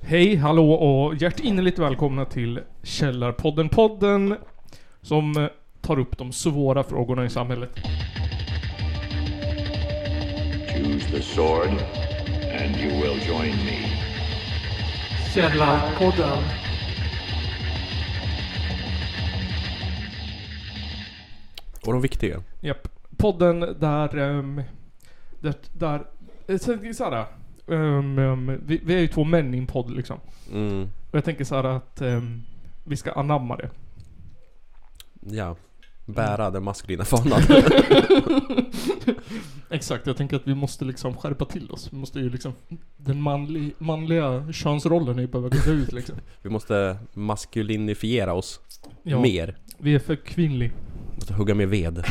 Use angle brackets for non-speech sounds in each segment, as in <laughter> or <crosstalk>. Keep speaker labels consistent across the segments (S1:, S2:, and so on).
S1: Hej, hallå och hjärtinnerligt välkomna till Källarpodden. Podden som eh, tar upp de svåra frågorna i samhället.
S2: Choose the sword, and you will join me.
S3: Källarpodden.
S4: Och de viktiga.
S1: Japp. Podden där... ehm, där... där eh, sen- så här, ehm, ehm, vi, vi är ju två män i en podd liksom.
S4: Mm.
S1: Och jag tänker så här att ehm, vi ska anamma det.
S4: Ja. Bära den maskulina fanan.
S1: <laughs>
S4: <laughs>
S1: Exakt, jag tänker att vi måste liksom skärpa till oss. Vi måste ju liksom... Den manli, manliga könsrollen är ju på väg att dö ut liksom.
S4: Vi måste maskulinifiera oss
S1: Ja, Eh,
S4: mer.
S1: vi är för kvinnlig.
S4: Vi måste hugga med ved.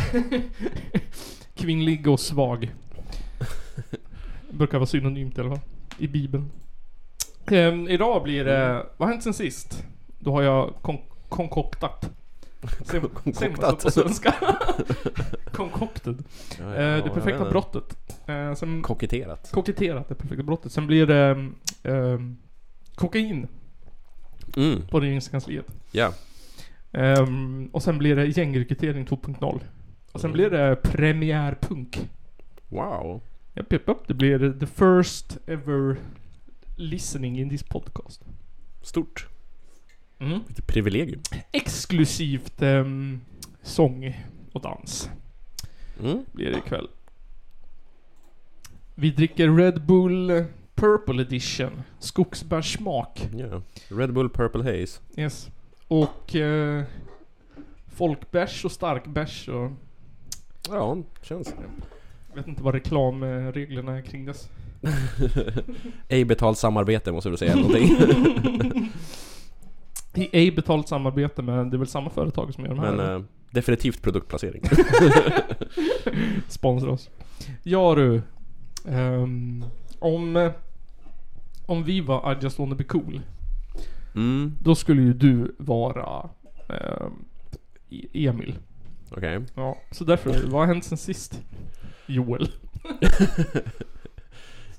S1: Kvinnlig och svag. Brukar vara synonymt eller vad? I bibeln. Ehm, idag blir det... Vad har hänt sen sist? Då har jag kon- konkoktat. Säger man- säger man så
S4: <laughs> Konkoktat?
S1: på svenska? <laughs> Concocted.
S4: Ja, ja,
S1: Eh, det
S4: jag
S1: perfekta
S4: vet inte.
S1: brottet. Eh, sen
S4: Koketterat.
S1: koketterat det perfekta brottet. Sen blir det... ehm, ehm, kokain
S4: Mm.
S1: på regeringskansliet.
S4: Ja.
S1: Ehm, och sen blir det gängrekrytering 2.0. Och sen blir det premiärpunk.
S4: Wow.
S1: Japp, japp, japp. Det blir the first ever listening in this podcast.
S4: Stort. Vilket privilegium.
S1: Exklusivt ehm, sång och dans
S4: Mm.
S1: blir det ikväll. Vi dricker Red Bull Purple Edition. Skogsbärssmak.
S4: Ja. Red Bull Purple Haze.
S1: Yes. Och eh, folkbärs och starkbärs och...
S4: Ja, känns.
S1: Jag vet inte vad reklamreglerna är kring dess.
S4: <laughs> Ej betalt samarbete måste du
S1: <laughs>
S4: säga någonting.
S1: I ej betalt samarbete med, det är väl samma företag som gör de här?
S4: Men
S1: eller?
S4: eh, definitivt produktplacering.
S1: Sponsra oss. Ja du. Ehm, om, eh, om vi var I just wanna be cool.
S4: Mm.
S1: Då skulle ju du vara ehm, E- Emil.
S4: Okej.
S1: Ja, så därför, vad har hänt sen sist? Joel.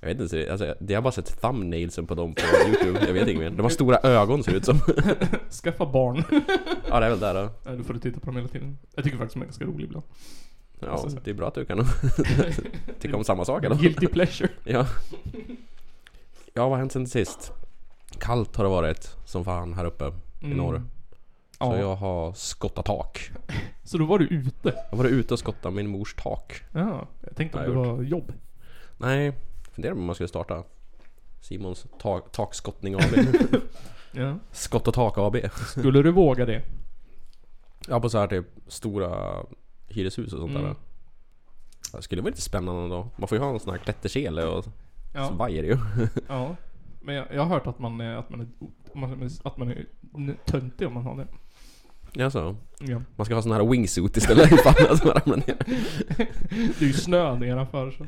S4: Jag vet inte, alltså, jag har bara sett thumbnailsen på dem på youtube, jag vet inget mer. De har stora ögon ser det ut som.
S1: Skaffa <laughs> barn.
S4: Ja det är väl där då.
S1: Nej, då får du titta på dem hela tiden. Jag tycker faktiskt de är ganska roliga ibland.
S4: Ja, det är bra att
S1: <laughs>
S4: du kan tycka om samma sak eller?
S1: Guilty pleasure.
S4: Ja. ja, vad har hänt sen sist? Kallt har det varit som fan här uppe <laughs> i
S1: Mm.
S4: norr. Så
S1: Ja.
S4: jag har skottat tak.
S1: Så då var du ute?
S4: Jag var ute och skottade min mors tak.
S1: Ja, jag tänkte om
S4: Har
S1: det
S4: jag
S1: var jobb.
S4: Nej, funderar på om man skulle starta Simons tak, takskottning AB.
S1: <laughs> Ja.
S4: Skott och tak AB.
S1: Skulle du våga
S4: <laughs>
S1: det?
S4: Ja, på så här typ stora hyreshus och sånt
S1: Mm.
S4: där. Det skulle vara lite spännande då. Man får ju ha en sån här klätterkele och så vajer ju. <laughs>
S1: Ja. Men jag, jag har hört att man, är- att man är, att man är, att man är n- töntig om man har det.
S4: Ja, så.
S1: Ja.
S4: Man ska ha sån här wingsuit istället <laughs> ifall att man ramlar ner.
S1: Det är ju snö nedanför så.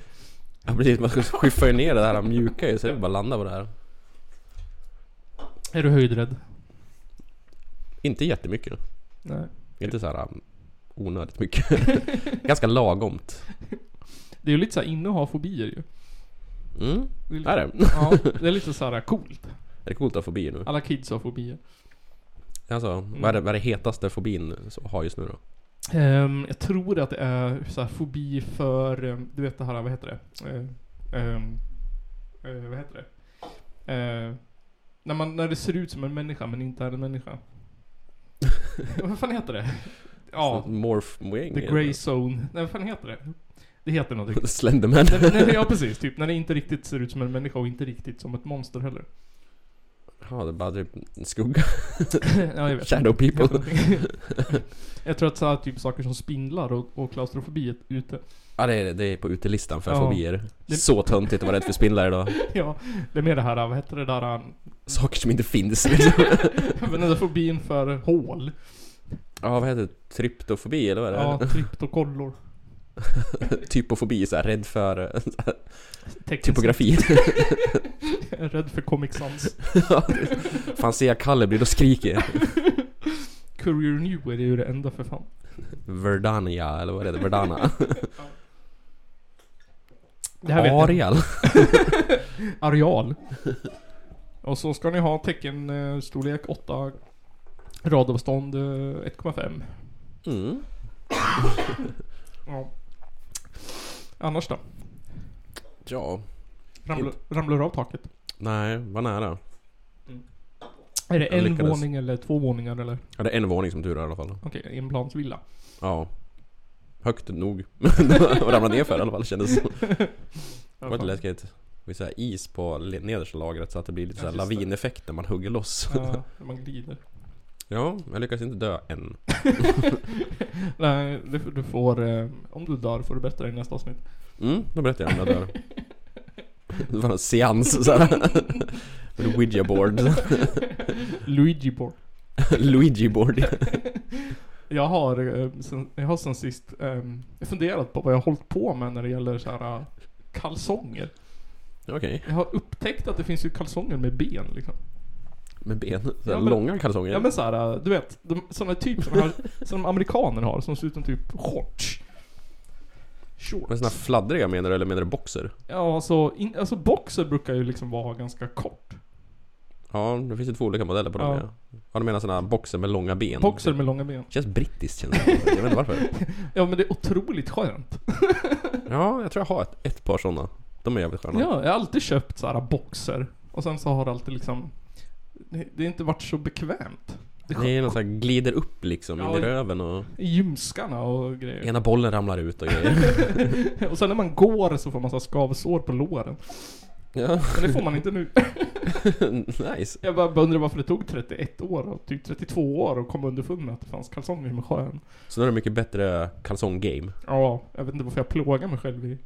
S4: Ja precis, man skyffar ju ner det här mjuka ju så det är bara att landa på det här.
S1: Är du höjdrädd?
S4: Inte jättemycket.
S1: Nej.
S4: Inte så här um, onödigt mycket. <laughs> Ganska lagomt.
S1: Det är ju lite såhär inne att ha fobier ju.
S4: Mm,
S1: Det är lite,
S4: är det?
S1: Ja, det är lite såhär coolt.
S4: Är det coolt att ha fobier nu?
S1: Alla kids har fobier.
S4: Alltså,
S1: Mm.
S4: vad, är det, vad är det hetaste fobin som har just nu då?
S1: Ehm, jag tror att det är såhär fobi för, ehm, du vet det här, vad heter det? Ehm, ehm, eh, vad heter det? Ehm, när, man, när det ser ut som en människa men inte är en människa. vad fan heter det? Ja,
S4: Morphwing?
S1: The Grey Zone. Nej vad fan heter det? Det heter någonting.
S4: <laughs> Slenderman?
S1: nej, nej, nej, ja precis, typ när det inte riktigt ser ut som en människa och inte riktigt som ett monster heller.
S4: Ja, det är bara typ en skugga.
S1: <laughs> ja, jag vet.
S4: Shadow people.
S1: <laughs> jag tror att så här, typ saker som spindlar och, och klaustrofobi är ute. <laughs>
S4: Ja, det är, det är på utelistan för
S1: Ja.
S4: fobier.
S1: Det-
S4: Så töntigt att vara rädd för spindlar
S1: <laughs>
S4: idag.
S1: Ja, det är mer det här, vad heter det där, han-
S4: Saker som inte finns liksom.
S1: den där fobin för hål.
S4: Ja, vad heter det? Tryptofobi eller vad är det?
S1: Ja, triptokollor.
S4: Typofobi, så här, rädd för eh,
S1: Tekniskt. <laughs>
S4: typografi.
S1: Jag är Rädd för Comic Sans.
S4: Ja, det- Fan ser jag Kalle blir då skriker
S1: Courier New är ju det enda för fan.
S4: Verdania eller vad är det? Verdana?
S1: Det här vet jag. <laughs>
S4: Arial?
S1: Areal. Och så ska ni ha tecken eh, storlek 8, radavstånd eh, 1,5.
S4: Mm.
S1: Ja. Annars då?
S4: Ja.
S1: Ramlar, ramlar du av taket?
S4: Nej, vad nära.
S1: Är det
S4: Jag
S1: en
S4: lyckades.
S1: våning eller två våningar eller?
S4: Ja, det är en våning som tur är i alla fall.
S1: Okej, enplansvilla.
S4: Ja. Högt nog. <laughs> Och ramlade ner för i alla fall kändes det som. Det var lite läskigt. Det är så här is på le- nedersta lagret så att det blir lite så här
S1: Ja, just det.
S4: lavineffekt när man hugger loss.
S1: <laughs> Ja, man glider.
S4: <laughs> Ja, jag lyckas inte dö än.
S1: Nej, du, du får... Eh, om du dör får du bättre i nästa avsnitt.
S4: Mm, då berättar jag om jag dör.
S1: <laughs>
S4: Det var en seans såhär. Med Ouija board.
S1: Luigi Borg.
S4: Luigi board.
S1: Jag har, eh, sen, jag har sen sist ehm, funderat på vad jag har hållit på med när det gäller så här eh, kalsonger.
S4: <laughs> Okej.
S1: Jag har upptäckt att det finns ju kalsonger med ben liksom.
S4: Med ben. Så här
S1: Ja, men-
S4: långa kalsonger.
S1: Ja men så här, eh, du vet, de, såna typ som, har, <laughs> som amerikaner har, som ser ut som typ shorts.
S4: men såna
S1: Shorts.
S4: här fladdriga menar du eller menar du boxer?
S1: Ja alltså, in, alltså boxer brukar ju liksom vara ganska kort.
S4: Ja, det finns ju två olika modeller på dem
S1: Ja.
S4: ja. Ja, du menar såna här boxer med långa ben?
S1: Boxer med långa ben.
S4: Känns brittiskt känns det. Jag vet
S1: <laughs>
S4: inte varför.
S1: Ja men det är otroligt skönt.
S4: Ja, jag tror jag har ett, ett par såna. De är jävligt sköna.
S1: Ja, jag har alltid köpt så här boxer. Och sen så har det alltid liksom... Det det har inte varit så bekvämt. Det
S4: Det är någon sån här glider upp liksom
S1: Ja,
S4: in i
S1: ja.
S4: röven och
S1: I ljumskarna och grejer.
S4: ena bollen ramlar ut och grejer.
S1: <laughs> Och sen när man går så får man så här skavsår på låren.
S4: ja, <laughs>
S1: Men det får man inte nu.
S4: nice.
S1: Jag bara undrar varför det tog 31 år och typ 32 år och kom underfund med att det fanns kalsonger med sjön.
S4: Så nu är det mycket bättre kalsonggame.
S1: Ja, jag vet inte varför jag plågar mig själv i...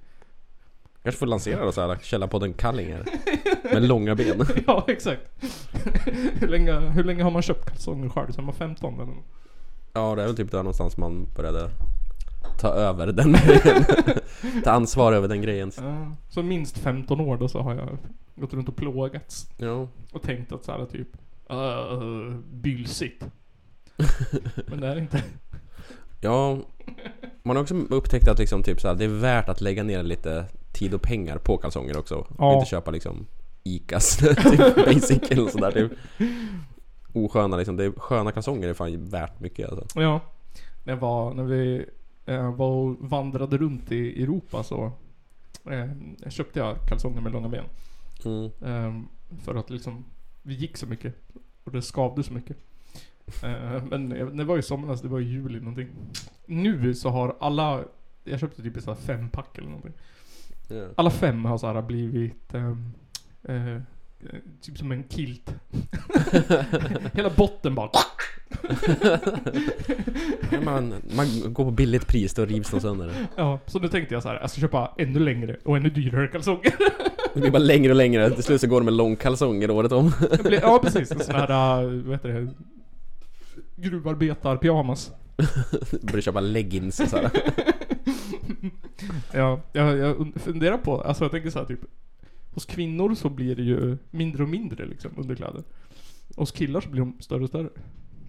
S4: Kanske får lansera då såhär Källarpodden Kallingar.
S1: <laughs>
S4: Med långa ben.
S1: Ja, exakt. <laughs> hur, länge, hur länge har man köpt kalsonger själv? Sen man var 15 eller något?
S4: Ja, det är väl typ där någonstans man började ta över <laughs> den grejen. ta ansvar över den grejen.
S1: Ja. Så minst 15 år då så har jag gått runt och plågats.
S4: Ja.
S1: Och tänkt att så här typ... Uh, bylsigt. Men det är det inte.
S4: <laughs>
S1: <laughs>
S4: Ja, man har också upptäckt att liksom, typ, så här, det är värt att lägga ner lite tid och pengar på kalsonger också.
S1: Ja.
S4: Och inte köpa liksom Icas <laughs> typ, basic eller sådär typ. Osköna liksom, det är, sköna kalsonger är fan värt mycket alltså.
S1: Ja. Det var när vi eh, var och vandrade runt i Europa så eh, köpte jag kalsonger med långa ben.
S4: Mm.
S1: Eh, för att liksom, vi gick så mycket. Och det skavde så mycket. Eh, men jag- det var ju somras, det var i juli någonting. Nu så har alla, jag köpte typ så här fem pack eller någonting.
S4: Ja.
S1: Alla fem har så här blivit ehm, eh, eh, Typ som en kilt. Hela botten bara
S4: Ja, Man, man går på billigt pris, då rivs de sönder.
S1: <laughs> Ja, så nu tänkte jag så här, jag ska köpa ännu längre och ännu dyrare kalsonger.
S4: Det blir bara längre och längre, till slut så går de med långkalsonger året om.
S1: Det blir- ja, precis. En sån här, äh, vad heter det? Gruvarbetar-pyjamas.
S4: <laughs> Börjar köpa leggings och sådär.
S1: Ja, jag, jag und- funderar på, alltså jag tänker så här typ. Hos kvinnor så blir det ju mindre och mindre liksom underkläder. Och hos killar så blir de större och större.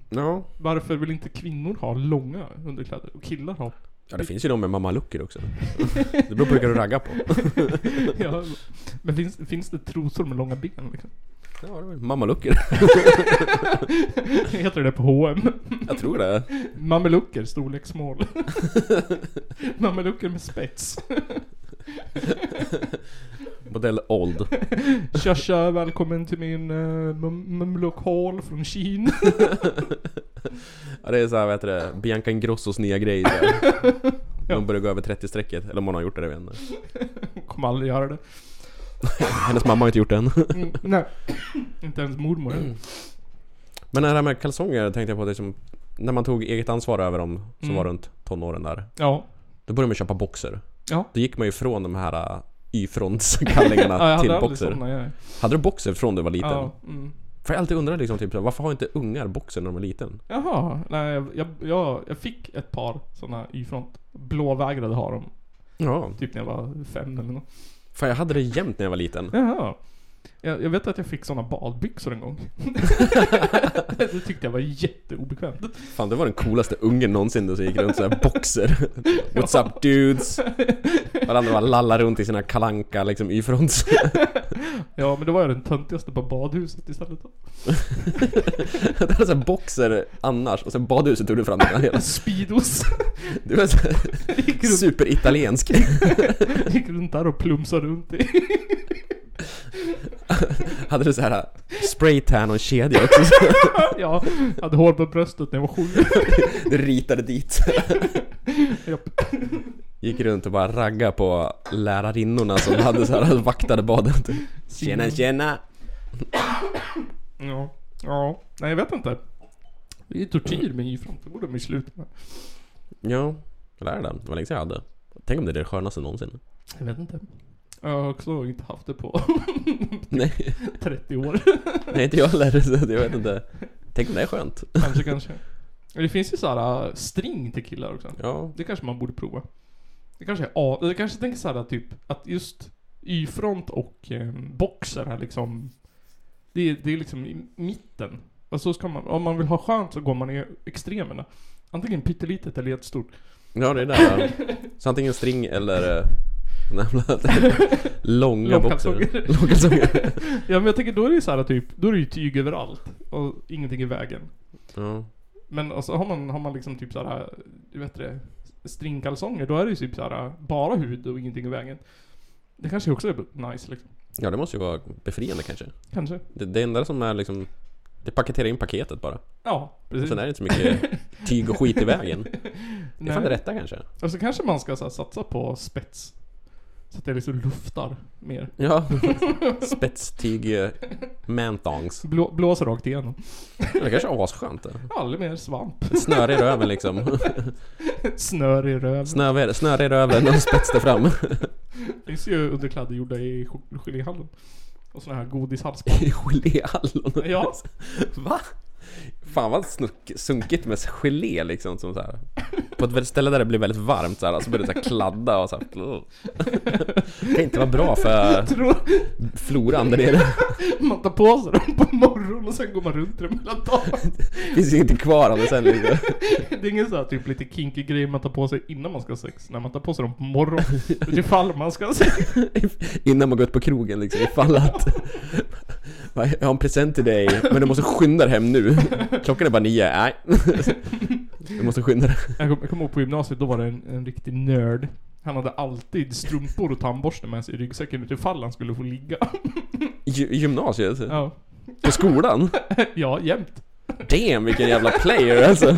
S4: Ja.
S1: Varför vill inte kvinnor ha långa underkläder? Och killar ha...
S4: ja, det finns ju de med mammaluckor också. Det beror på vilka du raggar på.
S1: <laughs> ja, men finns, finns det trosor med långa ben liksom? <laughs>
S4: Ja, det var mammaluckor.
S1: Heter det på H&M?
S4: <laughs> Jag tror det.
S1: Mamelucker, storlek small. <laughs> Mamelucker med spets.
S4: Modell old.
S1: Tja tja, välkommen till min uh, Mameluck Hall från Kina. <laughs>
S4: Ja, det är såhär, vad heter det? Bianca Ingrossos
S1: <laughs>
S4: nya grej där. Hon börjar gå över 30-strecket, eller om hon har gjort det, det vet jag inte.
S1: Kommer aldrig göra det.
S4: Hennes mamma har inte gjort det än. <laughs>
S1: Mm, nej, <coughs> inte ens mormor.
S4: Mm. Men det här med kalsonger tänkte jag på, det som, när man tog eget ansvar över dem som
S1: Mm.
S4: var runt tonåren där.
S1: Ja.
S4: Då började man köpa boxer.
S1: Ja.
S4: Då gick man ju från de här äh,
S1: ja, <laughs>
S4: Y-frontskallingarna till
S1: aldrig
S4: boxer.
S1: såna, jag.
S4: Hade du boxer från du var liten?
S1: Ja, mm.
S4: För jag alltid undrar liksom typ så här, varför har inte ungar boxer när de är liten?
S1: Jaha, nej jag, jag, jag, jag fick ett par såna Y-front. Blå vägrade ha dem.
S4: Ja.
S1: Typ när jag var fem eller något.
S4: För jag hade det jämt när jag var liten.
S1: Jaha. Jag, jag vet att jag fick såna badbyxor en gång. <laughs> det tyckte jag var jätteobekvämt.
S4: Fan det var den coolaste ungen någonsin då som gick runt såhär boxer. What's up dudes? Varandra bara lallar runt i sina kalanka liksom y-fronts.
S1: Ja, men då var jag den töntigaste på badhuset istället då.
S4: <laughs> Det hade såhär boxer annars och sen badhuset tog du fram dina hela.
S1: Speedos. <laughs>
S4: Du var såhär
S1: Gick runt,
S4: superitaliensk.
S1: gick runt där och plumsade runt i. <laughs>
S4: Hade du såhär spraytan och en kedja också. <laughs> så
S1: Ja, hade hår på bröstet när jag var sju.
S4: Du ritade dit.
S1: Japp.
S4: Gick runt och bara ragga på lärarinnorna som hade såhär vaktade badet. Tjena tjena!
S1: Ja. Ja. Nej, jag vet inte. Det är ju tortyr med Y-front. Det borde de ju sluta med.
S4: Ja, jag lärde den. Det var länge sedan jag hade. Tänk om det är det skönaste någonsin.
S1: Jag vet inte. Jag har också inte haft det på
S4: <laughs>
S1: <laughs>
S4: Nej,
S1: 30 år.
S4: nej inte jag heller. så att Jag vet inte. Tänk om det är skönt.
S1: Kanske, kanske. Men Det finns ju såhär äh, string till killar också.
S4: Ja,
S1: Det kanske man borde prova. Det kanske är A. Jag kanske tänker såhär typ att just Y-front och eh, boxer är liksom... Det är, det är liksom i mitten. Och så ska man, om man vill ha skönt så går man i extremerna. Antingen pyttelitet eller jättestort.
S4: ja det är där. Så antingen string eller eh, såna jävla <laughs> långa boxer.
S1: Långkalsonger.
S4: <laughs> Långkalsonger.
S1: <laughs> Ja men jag tänker då är det ju såhär typ, då är det ju tyg överallt. Och ingenting i vägen.
S4: Ja.
S1: Men alltså har man, har man liksom typ såhär, du vet det, stringkalsonger, då är det ju typ såhär bara hud och ingenting i vägen. Det kanske också är nice liksom.
S4: ja, det måste ju vara befriande kanske.
S1: Kanske.
S4: Det, det enda som är liksom Det paketerar in paketet bara.
S1: Ja, precis.
S4: Sen är det inte så mycket tyg och skit i vägen. Det är
S1: Nej.
S4: fan det rätta kanske.
S1: Alltså kanske man ska så här, satsa på spets. Så att det liksom luftar mer.
S4: Ja. Spetstyg eh, manthongs.
S1: Blå, blåser rakt igenom.
S4: Det kanske är asskönt det.
S1: Aldrig mer svamp. <laughs>
S4: Snöre i röven liksom.
S1: Snör i röven.
S4: Snöre, snöre i röven och spets där fram.
S1: Finns ju underkläder gjorda i chok- geléhallon. Och såna här godishalsband.
S4: <laughs> <laughs> I Geléhallon.
S1: Ja.
S4: Va? Fan vad snuck, sunkigt med gelé liksom som så här. På ett ställe där det blir väldigt varmt så här, så börjar det så här kladda och så här. Det kan inte vara bra för
S1: Tror
S4: floran där nere.
S1: man tar på sig dem på morgonen och sen går man runt i dem hela <laughs> dagen.
S4: Det finns ju inte kvar av det sen liksom.
S1: Det är ingen så här typ lite kinky grej man tar på sig innan man ska ha sex. Nej man tar på sig dem på morgonen. Utifall man ska ha sex.
S4: Innan man går ut på krogen liksom, ifall att... Va, Jag har en present till dig, men du måste skynda dig hem nu. Klockan är bara nio, nej. Du måste skynda dig.
S1: Jag kommer kom ihåg på gymnasiet, då var det en, en riktig nörd. Han hade alltid strumpor och tandborste med sig i ryggsäcken utifall han skulle få ligga.
S4: Gy- Gymnasiet?
S1: <laughs> Ja,
S4: På skolan?
S1: ja jämt.
S4: Damn vilken jävla
S1: <laughs>
S4: player alltså!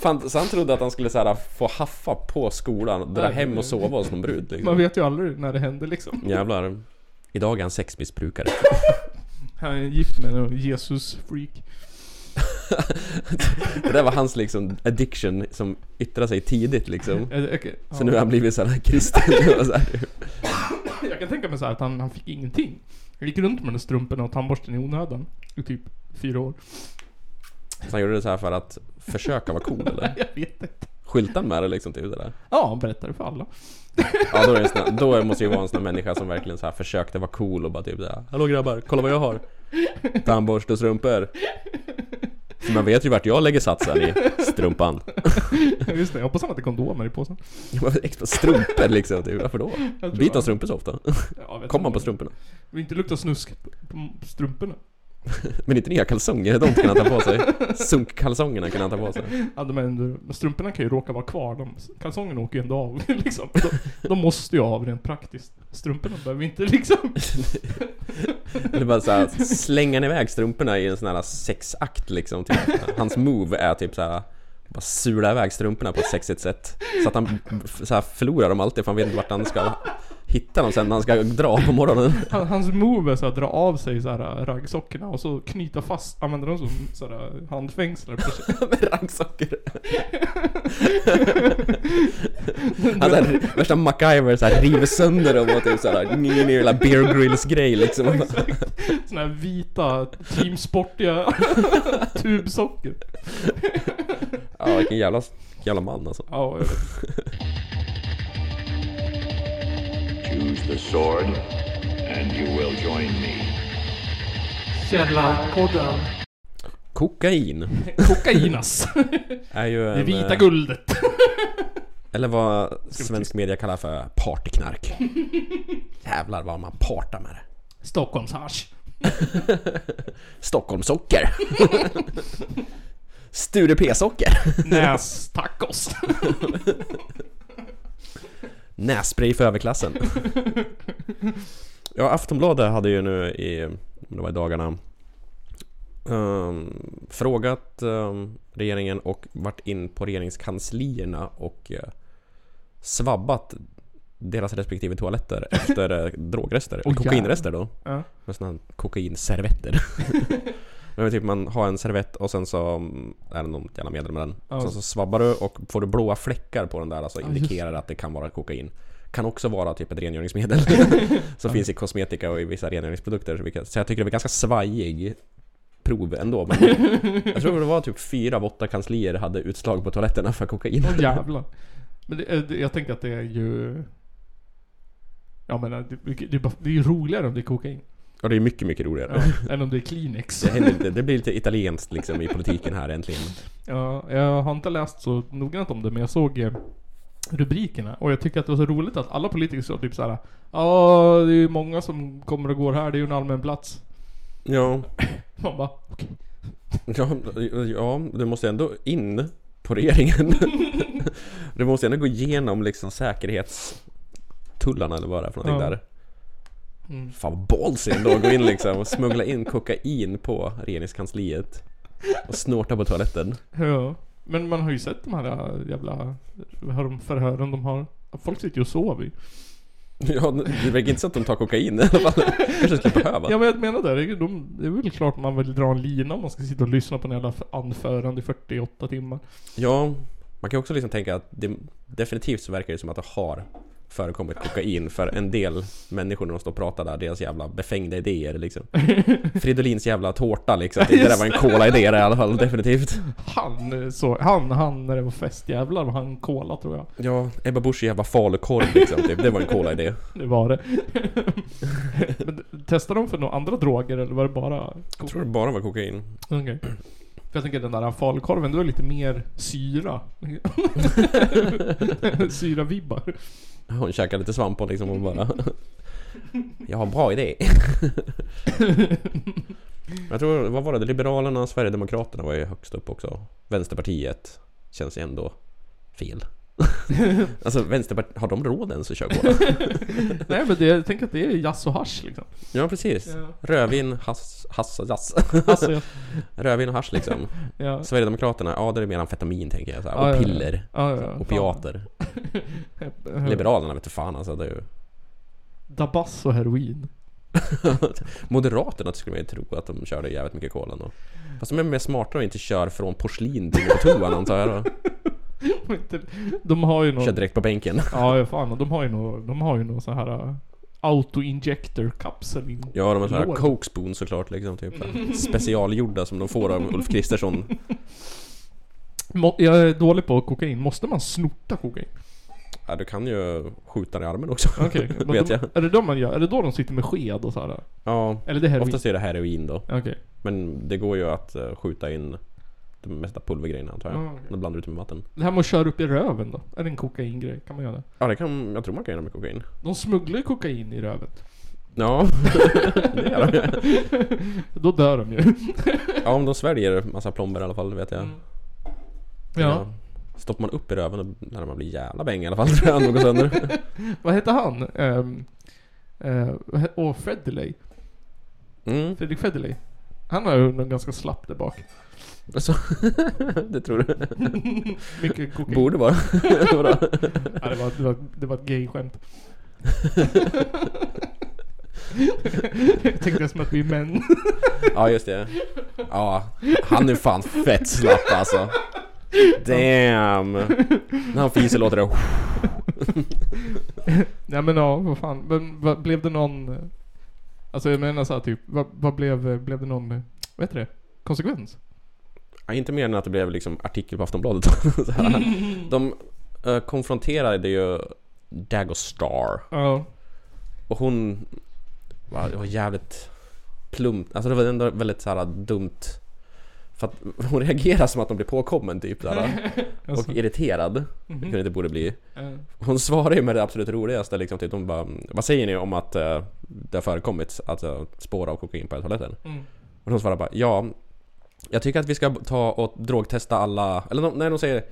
S4: Fan, så han trodde att han skulle så här, få haffa på skolan, dra
S1: Nej.
S4: hem och sova hos någon brud
S1: Man
S4: liksom.
S1: vet ju aldrig när det händer liksom.
S4: Jävlar. Idag är han sexmissbrukare.
S1: Han är gift med en Jesus-freak.
S4: Det där var hans liksom addiction som yttrade sig tidigt liksom.
S1: Eh, okej, ja.
S4: Så nu har han blivit såhär kristen. och så här.
S1: Jag kan tänka mig så här att han, han fick ingenting. Han gick runt med den strumporna och tandborsten i onödan. I typ fyra år.
S4: Så han gjorde det så här för att försöka vara cool eller?
S1: Jag vet inte.
S4: Skyltade han med det liksom till det där?
S1: Ja, han berättade för alla.
S4: Ja då, är det en sån här, då måste det ju vara en sån här människa som verkligen så här försökte vara cool och bara typ såhär Hallå grabbar, kolla vad jag har! Tandborste och strumpor! För man vet ju vart jag lägger satsen i strumpan
S1: <laughs> Just det, jag hoppas han hade kondomer i påsen.
S4: Jag bara, Extra strumpor liksom, typ. varför då?
S1: Jag tror
S4: Byter
S1: han-
S4: han strumpor så ofta?
S1: Ja, jag vet
S4: Kommer han
S1: inte.
S4: på strumporna?
S1: Vill inte lukta snusk på- på strumporna.
S4: Men inte nya kalsonger, de kan han ta på sig Sunkkalsongerna kan han ta på sig
S1: Ja, de är ändå, men strumporna kan ju råka vara kvar. De, kalsongerna åker ju ändå av <laughs> liksom. De, de måste ju av rent praktiskt. Strumporna behöver inte liksom...
S4: Eller bara såhär, slänger han iväg strumporna i en sån här sexakt liksom typ. Hans move är typ såhär bara sula iväg strumporna på ett sexigt sätt Så att han så här förlorar dem alltid för han vet inte vart han <laughs> ska hitta dem sen när han ska dra på morgonen
S1: <laughs>
S4: <laughs>
S1: Han, hans move är så att dra av sig så här äh, raggsockorna och så knyta fast, använda dem som så här äh, handfängslar på sig.
S4: Med raggsockor <laughs> Han såhär, värsta MacGyver såhär river sönder dem och typ såhär Ny ny lilla Bear Grylls grej liksom
S1: Såna här vita, teamsportiga <laughs> tubsockor.
S4: Ja vilken jävla, jävla man alltså
S1: Ja, jag vet.
S2: Choose the sword, and you will join me.
S1: Källarpodden.
S4: Kokain
S1: Kokainas.
S4: är ju en,
S1: Det vita
S4: eh,
S1: guldet. <laughs>
S4: Eller vad svensk media kallar för partyknark. Jävlar vad man partar med det.
S1: Stockholmshasch.
S4: Stockholmssocker. <laughs> Sture P-socker.
S1: Nästacos.
S4: Nässpray för överklassen. Ja, Aftonbladet hade ju nu i, om det var i dagarna, ehm, frågat ehm, regeringen och varit in på regeringskanslierna och eh, svabbat deras respektive toaletter efter eh, drogrester, eller
S1: Åh,
S4: kokainrester då.
S1: Ja.
S4: Med sådana här kokainservetter. <laughs> Men typ man har en servett och sen så mm, är det någon jävla medel med den.
S1: Ja.
S4: Sen så svabbar du och får du blåa fläckar på den där alltså
S1: Ja, just
S4: indikerar att det kan vara kokain. Kan också vara typ
S1: <laughs>
S4: ett rengöringsmedel. som finns i kosmetika och i vissa rengöringsprodukter. Så, vi kan- så jag tycker det var ganska svajig prov
S1: <laughs>
S4: ändå. Men jag tror det var typ fyra av åtta kanslier hade utslag på toaletterna för kokain.
S1: Åh jävlar. Men det, är- det, jag tänker att det är ju... Ja men eh, det, det, är bara- det är ju roligare om det är kokain.
S4: Och det är mycket, mycket roligare.
S1: Ja, än om det är Kleenex.
S4: Det, händer, lite- det blir lite italienskt liksom i politiken här äntligen.
S1: Ja, jag har inte läst så noggrant om det, men jag såg eh, rubrikerna. Och jag tycker att det var så roligt att alla politiker sa typ såhär Ja, det är ju många som kommer och går här, det är ju en allmän plats. <laughs>
S4: Ja,
S1: Man bara,
S4: Ja, ja, du måste ändå in
S1: <laughs>
S4: på regeringen. du måste ändå gå igenom liksom säkerhetstullarna eller vad det är för någonting
S1: Ja.
S4: där.
S1: Mm.
S4: Fan vad ballsy ändå att gå in liksom och smuggla in kokain på regeringskansliet. Och snorta på toaletten.
S1: ja. Men man har ju sett de här eh, jävla hör de förhören de har. Folk sitter ju och sover ju.
S4: Ja, det verkar inte så att de tar kokain i alla fall. kanske skulle behöva.
S1: Ja men jag menar det, det är, ju- de, det är väl klart man vill dra en lina om man ska sitta och lyssna på en jävla f- anförande i 48 timmar.
S4: Ja, man kan också liksom tänka att det, definitivt så verkar det som att det har förekommit kokain för en del människor när de står och pratar där, deras jävla befängda idéer liksom. Fridolins jävla tårta liksom, det där var en cola-idé i alla fall, definitivt.
S1: Han, eh, så, han, han när det var fest jävlar vad han kola tror jag.
S4: Ja, Ebba Busch jävla falukorv liksom, typ. det var en cola-idé.
S1: Det var det. <laughs> men, testade de för några andra droger eller var det bara...
S4: Jag tror det bara var kokain.
S1: Okej. För jag tänker den där falukorven, det var lite mer syra. <laughs> Syra-vibbar.
S4: Hon käkade lite svamp och liksom och bara... <laughs> Jag har en
S1: <laughs>
S4: bra idé. Jag tror, vad var det? Liberalerna, Sverigedemokraterna var ju högst upp också. Vänsterpartiet känns ju ändå fel. <laughs> alltså Vänsterpartiet, har de råd ens att köra
S1: <laughs>
S4: cola?
S1: Nej men det, jag tänker att det är jazz och hasch liksom.
S4: ja precis.
S1: Ja.
S4: Rödvin, hass, hass, hass.
S1: Alltså, jag-
S4: Rödvin och hasch liksom.
S1: ja.
S4: Sverigedemokraterna, ja det är mer amfetamin tänker jag. Så här,
S1: Ja,
S4: och
S1: ja, ja.
S4: piller.
S1: Ja, ja, ja.
S4: Opiater.
S1: Fan.
S4: Liberalerna vet du fan alltså. Det är ju...
S1: Dabass och heroin. <laughs>
S4: <laughs> Moderaterna skulle man ju tro att de körde jävligt mycket kola ändå. Fast de är mer smartare och inte kör från porslin till på toan antar jag då. <laughs>
S1: De inte- De har ju någon...
S4: Kör direkt på bänken.
S1: Ja, ja, fan. och De har ju någon, de har ju någon sån här uh, auto-injector-kapsel. in-
S4: Ja, de har sådana här
S1: Lord.
S4: Coke Spoon såklart liksom, typ Specialgjorda som de får av Ulf Kristersson
S1: Må- Jag är dålig på kokain. Måste man snorta kokain?
S4: ja, du kan ju skjuta den i armen också <laughs>
S1: Okej. men
S4: Vet
S1: de,
S4: jag
S1: Är det då man gör? Är det då de sitter med sked och så här?
S4: Ja,
S1: Eller det här är
S4: oftast är det heroin då
S1: Okej.
S4: Men det går ju att eh, skjuta in de mesta pulvergrejerna antar jag
S1: Ja, okej.
S4: Då blandar du ut med vatten
S1: Det här med att köra upp i röven då? Är det en kokaingrej? Kan man göra det?
S4: Ja, det kan, jag tror man kan göra med kokain
S1: De smugglar ju kokain i röven.
S4: Ja, <laughs> det gör de
S1: <laughs> Då dör de ju.
S4: Ja, om de sväljer massa plomber i alla fall, vet jag
S1: Mm.
S4: Ja. Stoppar man upp i röven då lär man bli jävla bäng i alla fall tror jag, om de går sönder
S1: Vad hette han? Ehm, eh, vad he- Åh, Federley.
S4: mm.
S1: Fredrik Federley. Han har ju någon ganska slapp där bak. <laughs>
S4: så, <laughs> Det tror du?
S1: Mycket kokain.
S4: Borde vara <laughs> Vadå?
S1: Ja, det, var, det, var, det var ett gay-skämt.
S4: <laughs>
S1: <laughs> jag tänkte som att vi är män.
S4: Ja just det. Ja, han är fan fett slapp alltså. Damn! När han fiser låter det...
S1: Nej men ja, vad fan. Men, vad, blev det någon... eh, Alltså jag menar såhär typ, vad, vad blev, blev det någon, vad heter det? Konsekvens?
S4: Ja, inte mer än att det blev liksom artikel på Aftonbladet. <laughs> Så här. De eh, konfronterade ju Dagostar
S1: Ja.
S4: och hon var, var jävligt plumpt. Alltså det var ändå väldigt så här dumt För att <laughs> hon reagerar som att hon blir påkommen typ där.
S1: Alltså.
S4: Och irriterad,
S1: Mm.
S4: vilket hon inte borde bli.
S1: Mhm. Eh,
S4: Hon svarar ju med det absolut roligaste liksom, typ, hon bara Vad säger ni om att eh, det har förekommit alltså, spår av kokain på toaletten?
S1: Mm.
S4: Och de svarar bara ja Jag tycker att vi ska ta och drogtesta alla Eller de, nej de säger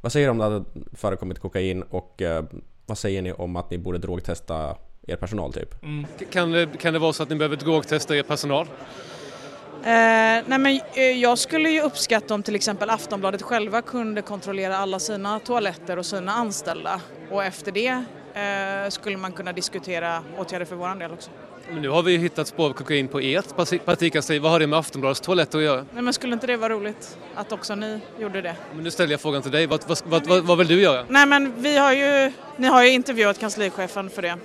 S4: Vad säger ni om det hade förekommit kokain och eh, Vad säger ni om att ni borde drogtesta er personal typ?
S3: Kan det, kan det vara så att ni behöver drogtesta er personal?
S5: Eh, nej men, eh, jag skulle ju uppskatta om till exempel Aftonbladet själva kunde kontrollera alla sina toaletter och sina anställda och efter det eh, skulle man kunna diskutera åtgärder för vår del också.
S3: Men nu har vi ju hittat spår av kokain på ert parti- partikansli. Vad har det med Aftonbladets toaletter att göra?
S5: Nej, men skulle inte det vara roligt att också ni gjorde det?
S3: Men nu ställer jag frågan till dig. Vad, vad, vad, vad, vad vill du göra?
S5: Nej men vi har ju, ni har ju intervjuat kanslichefen för det.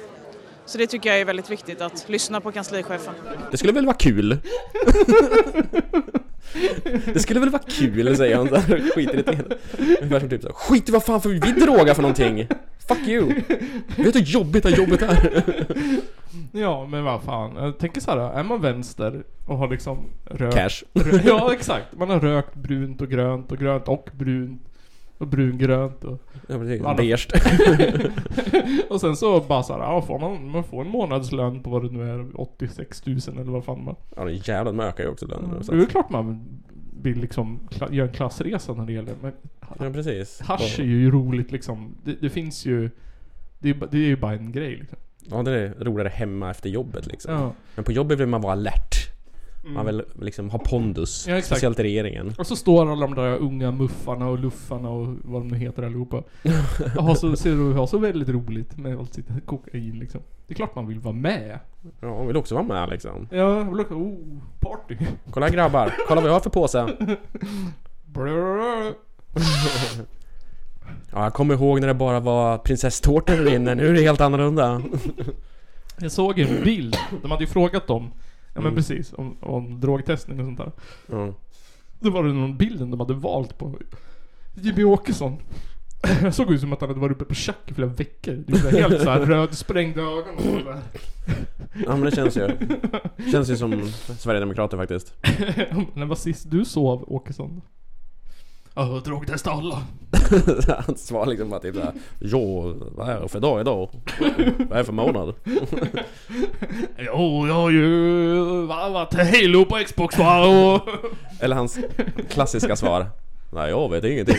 S5: Så det tycker jag är väldigt viktigt att lyssna på kanslichefen.
S4: Det skulle väl vara kul? Det skulle väl vara kul säger hon såhär, skitirriterad. Ungefär som typ såhär, skit i vad fan för vi drogar för någonting! Fuck you! Vet du hur jobbigt det här jobbet är?
S1: Ja, men vad fan. Jag tänker så här, är man vänster och har liksom rökt...
S4: Cash.
S1: rö- ja, exakt. Man har rökt brunt och grönt och grönt och brunt. Och brungrönt och...
S4: Ja, precis.
S1: Alla-
S4: Beige.
S1: Och sen så bara såhär, ja får man, man får en månadslön på vad det nu är, 86 000 eller vad fan man...
S4: Ja, den jävlar de ökar ju också lönen.
S1: Det är väl klart man vill liksom kla- göra en klassresa när det gäller, men
S4: Ja, precis.
S1: hasch är ju roligt liksom. Det, det finns ju... Det är, ju ba- det är ju bara en grej liksom.
S4: Ja, det är roligare hemma efter jobbet liksom.
S1: Ja. Mm.
S4: Men på jobbet vill man vara alert. Man vill liksom ha pondus.
S1: Ja, exakt.
S4: speciellt i regeringen.
S1: Och så står alla de där unga muffarna och luffarna och vad de nu heter <laughs> allihopa. Och så ser du har så väldigt roligt med allt sitt kokain liksom. Det är klart man vill vara med.
S4: Ja, man vill också vara med liksom.
S1: Ja, jag vill åka, oh, party.
S4: Kolla här, grabbar, kolla vad jag har för påse.
S1: Brrrr.
S4: Ja, jag kommer ihåg när det bara var prinsesstårtor där inne. Nu är det helt annorlunda.
S1: Jag såg en bild, de hade ju frågat dem, ja men precis, om, om drogtestning och sånt där.
S4: Ja.
S1: Då var det någon bilden de hade valt på Jimmy Åkesson. Jag såg ut som att han hade varit uppe på tjack i flera veckor. Du vet, helt såhär rödsprängda ögon och sådär.
S4: ja, men det känns ju. Känns ju som Sverigedemokrater <laughs> faktiskt.
S1: När var sist du sov, Åkesson? Ja, drogtesta alla.
S4: Han svarar liksom bara typ såhär. Jo, vad är det för dag idag? Vad är det för månad?
S1: Jo, jag har ju varvat Halo på Xbox va och...
S4: Eller hans klassiska svar. Nej, jag vet ingenting.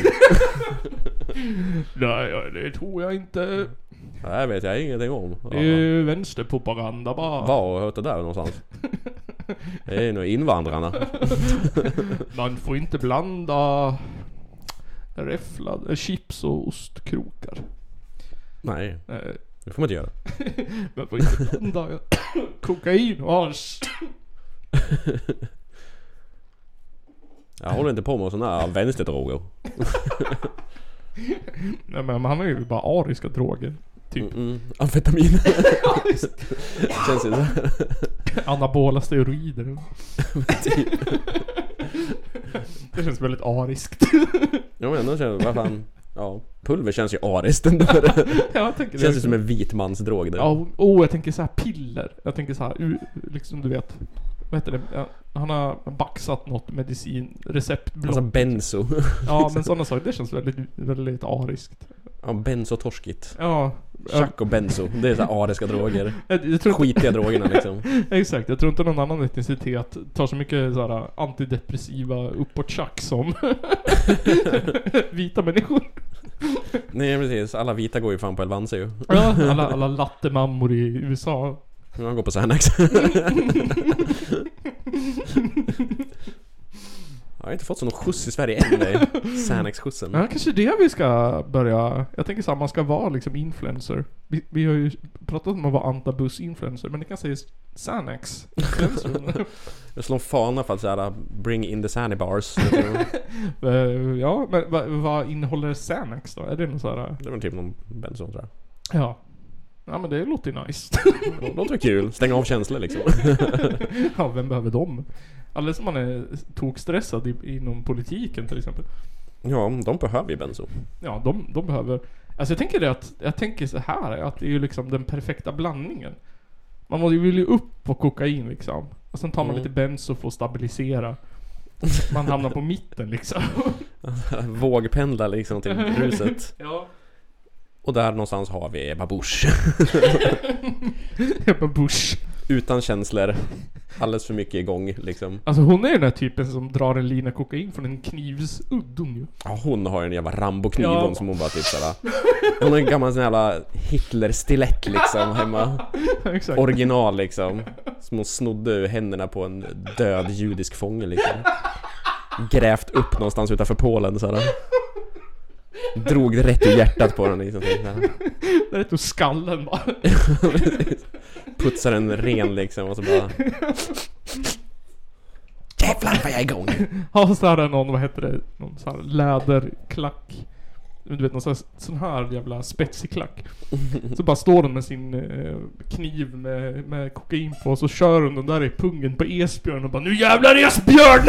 S1: Nej, ja, det tror jag inte.
S4: Det här vet jag ingenting om. Ja.
S1: Det är ju vänsterpropaganda bara.
S4: Var har jag hört det där någonstans? Det är nog invandrarna.
S1: Man får inte blanda räfflad, eh, chips och ostkrokar. Eh,
S4: Nej,
S1: Nej,
S4: det får man inte göra.
S1: man får inte blanda kokain och hasch.
S4: Jag håller inte på med sådana här vänsterdroger.
S1: Nej men han är ju bara ariska droger. Typ. <laughs>
S4: Mm, amfetamin. <laughs> Känns ju så. här.
S1: Anabola steroider. det känns väldigt ariskt.
S4: Jag menar, känns, vad fan. Ja, pulver känns ju ariskt ändå.
S1: jag tänker
S4: Känns ju som en vit typ. mans drog det.
S1: Ja, oh, jag tänker så här piller. Jag tänker så här, u- liksom du vet. Vad heter det? Ja, Han har baxat något medicin, receptblått.
S4: Alltså <laughs> benzo.
S1: ja men sådana saker. Det känns väldigt, väldigt ariskt.
S4: Ja, benzotorskigt.
S1: Ja. Jag,
S4: Chuck och benzo. Det är så här ariska droger.
S1: jag, jag <laughs> tror inte,
S4: Skitiga drogerna liksom.
S1: exakt, jag tror inte någon annan etnicitet tar så mycket så här antidepressiva uppåtchack som <laughs> vita människor.
S4: Nej precis, alla vita går ju fan på Elvanse ju.
S1: Ja, alla, alla lattemammor i USA.
S4: Man går på Xanax. <laughs> Jag har inte fått sån skjuts i Sverige än dig. Xanax-skjutsen.
S1: Ja, kanske det vi ska börja... Jag tänker såhär, man ska vara liksom influencer. Vi, vi har ju pratat om att vara antabus-influencer, men det kan sägas Xanax. influencer.
S4: Jag slår en fana för att såhär, bring in the Xanny bars.
S1: Eh, ja, men vad, vad innehåller Xanax då? Är det någon sån här...
S4: Det var typ någon benson tror jag.
S1: Ja. Ja men det låter ju nice.
S4: Det låter väl kul. Stänga av känslor liksom.
S1: <laughs> ja, vem behöver dem? Alldeles som man är tokstressad i, inom politiken till exempel.
S4: Ja, de behöver ju <laughs> benzo.
S1: Ja, de, de behöver... Alltså jag tänker det att, jag tänker så här att det är ju liksom den perfekta blandningen. Man måste ju- vill ju upp på kokain liksom. Och sen tar man
S4: Mm.
S1: lite benzo för att stabilisera. Man hamnar på mitten liksom. <laughs>
S4: Vågpendlar liksom till
S1: Mm.
S4: bruset.
S1: Ja.
S4: Och där någonstans har vi Ebba Busch. <laughs>
S1: Ebba Busch.
S4: Utan känslor. Alldeles för mycket igång liksom.
S1: Alltså hon är ju den här typen som drar en lina kokain från en knivsudd hon ju.
S4: Ja, hon har ju en jävla Rambo-kniv
S1: Ja.
S4: hon som hon bara typ såhär... Hon har en gammal sån jävla Hitler-stilett liksom hemma.
S1: <laughs> Exakt.
S4: Original liksom. Som hon snodde ur händerna på en död judisk fånge liksom. Grävt upp någonstans utanför Polen såhär. Drog det rätt i hjärtat på den liksom. såhär.
S1: Där är typ skallen bara.
S4: Putsar den ren liksom och så bara... Jävlar vad jag är igång!
S1: <laughs> Har så här någon, vad heter det, någon så här läderklack. Du vet någon sån här, sån här jävla spetsig
S4: <laughs>
S1: klack. Så bara står hon med sin eh, kniv med, med kokain på och så kör hon den där i pungen på Esbjörn och bara Nu jävlar
S4: <laughs>
S1: Esbjörn!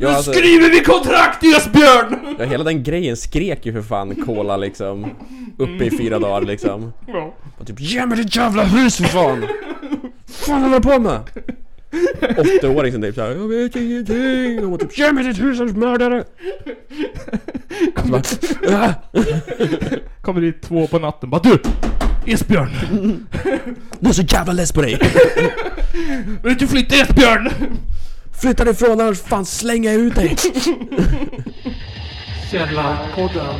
S4: Ja, alltså,
S1: Nu skriver vi kontrakt Esbjörn!
S4: ja, hela den grejen skrek ju för fan Cola liksom. Uppe i fyra dagar liksom.
S1: Ja,
S4: Och typ Ge mig ditt jävla hus för fan! fan håller du på med? 80-åring som typ såhär Jag vet ingenting! Och hon typ Ge mig ditt hus annars mördar jag dig! Och så bara, "Ah,
S1: kommer dit två på natten bara Du! Esbjörn!
S4: Du är så jävla less på dig!
S1: Vill du flytta Esbjörn?
S4: Flytta dig ifrån annars fan slänger jag ut dig!
S1: Källarpodden.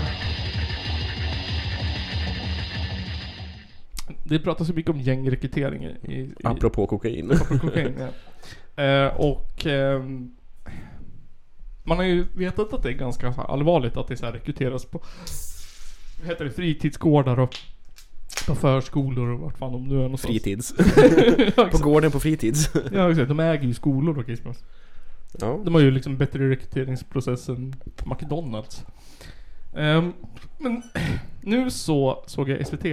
S1: Det pratas så mycket om gängrekrytering i, i, i <laughs>
S4: Apropå kokain.
S1: apropå kokain. Ja. Eh, och ehm, man har ju vetat att det är ganska så här allvarligt att det så här rekryteras på vad heter det, fritidsgårdar och på förskolor och vart fan de nu är någonstans.
S4: Fritids.
S1: <laughs> ja,
S4: På
S1: exakt.
S4: gården på fritids.
S1: ja, exakt. De äger ju skolor och Christmas.
S4: Ja.
S1: De har ju liksom bättre rekryteringsprocess än McDonalds. Ehm, men <clears throat> nu så såg jag SVT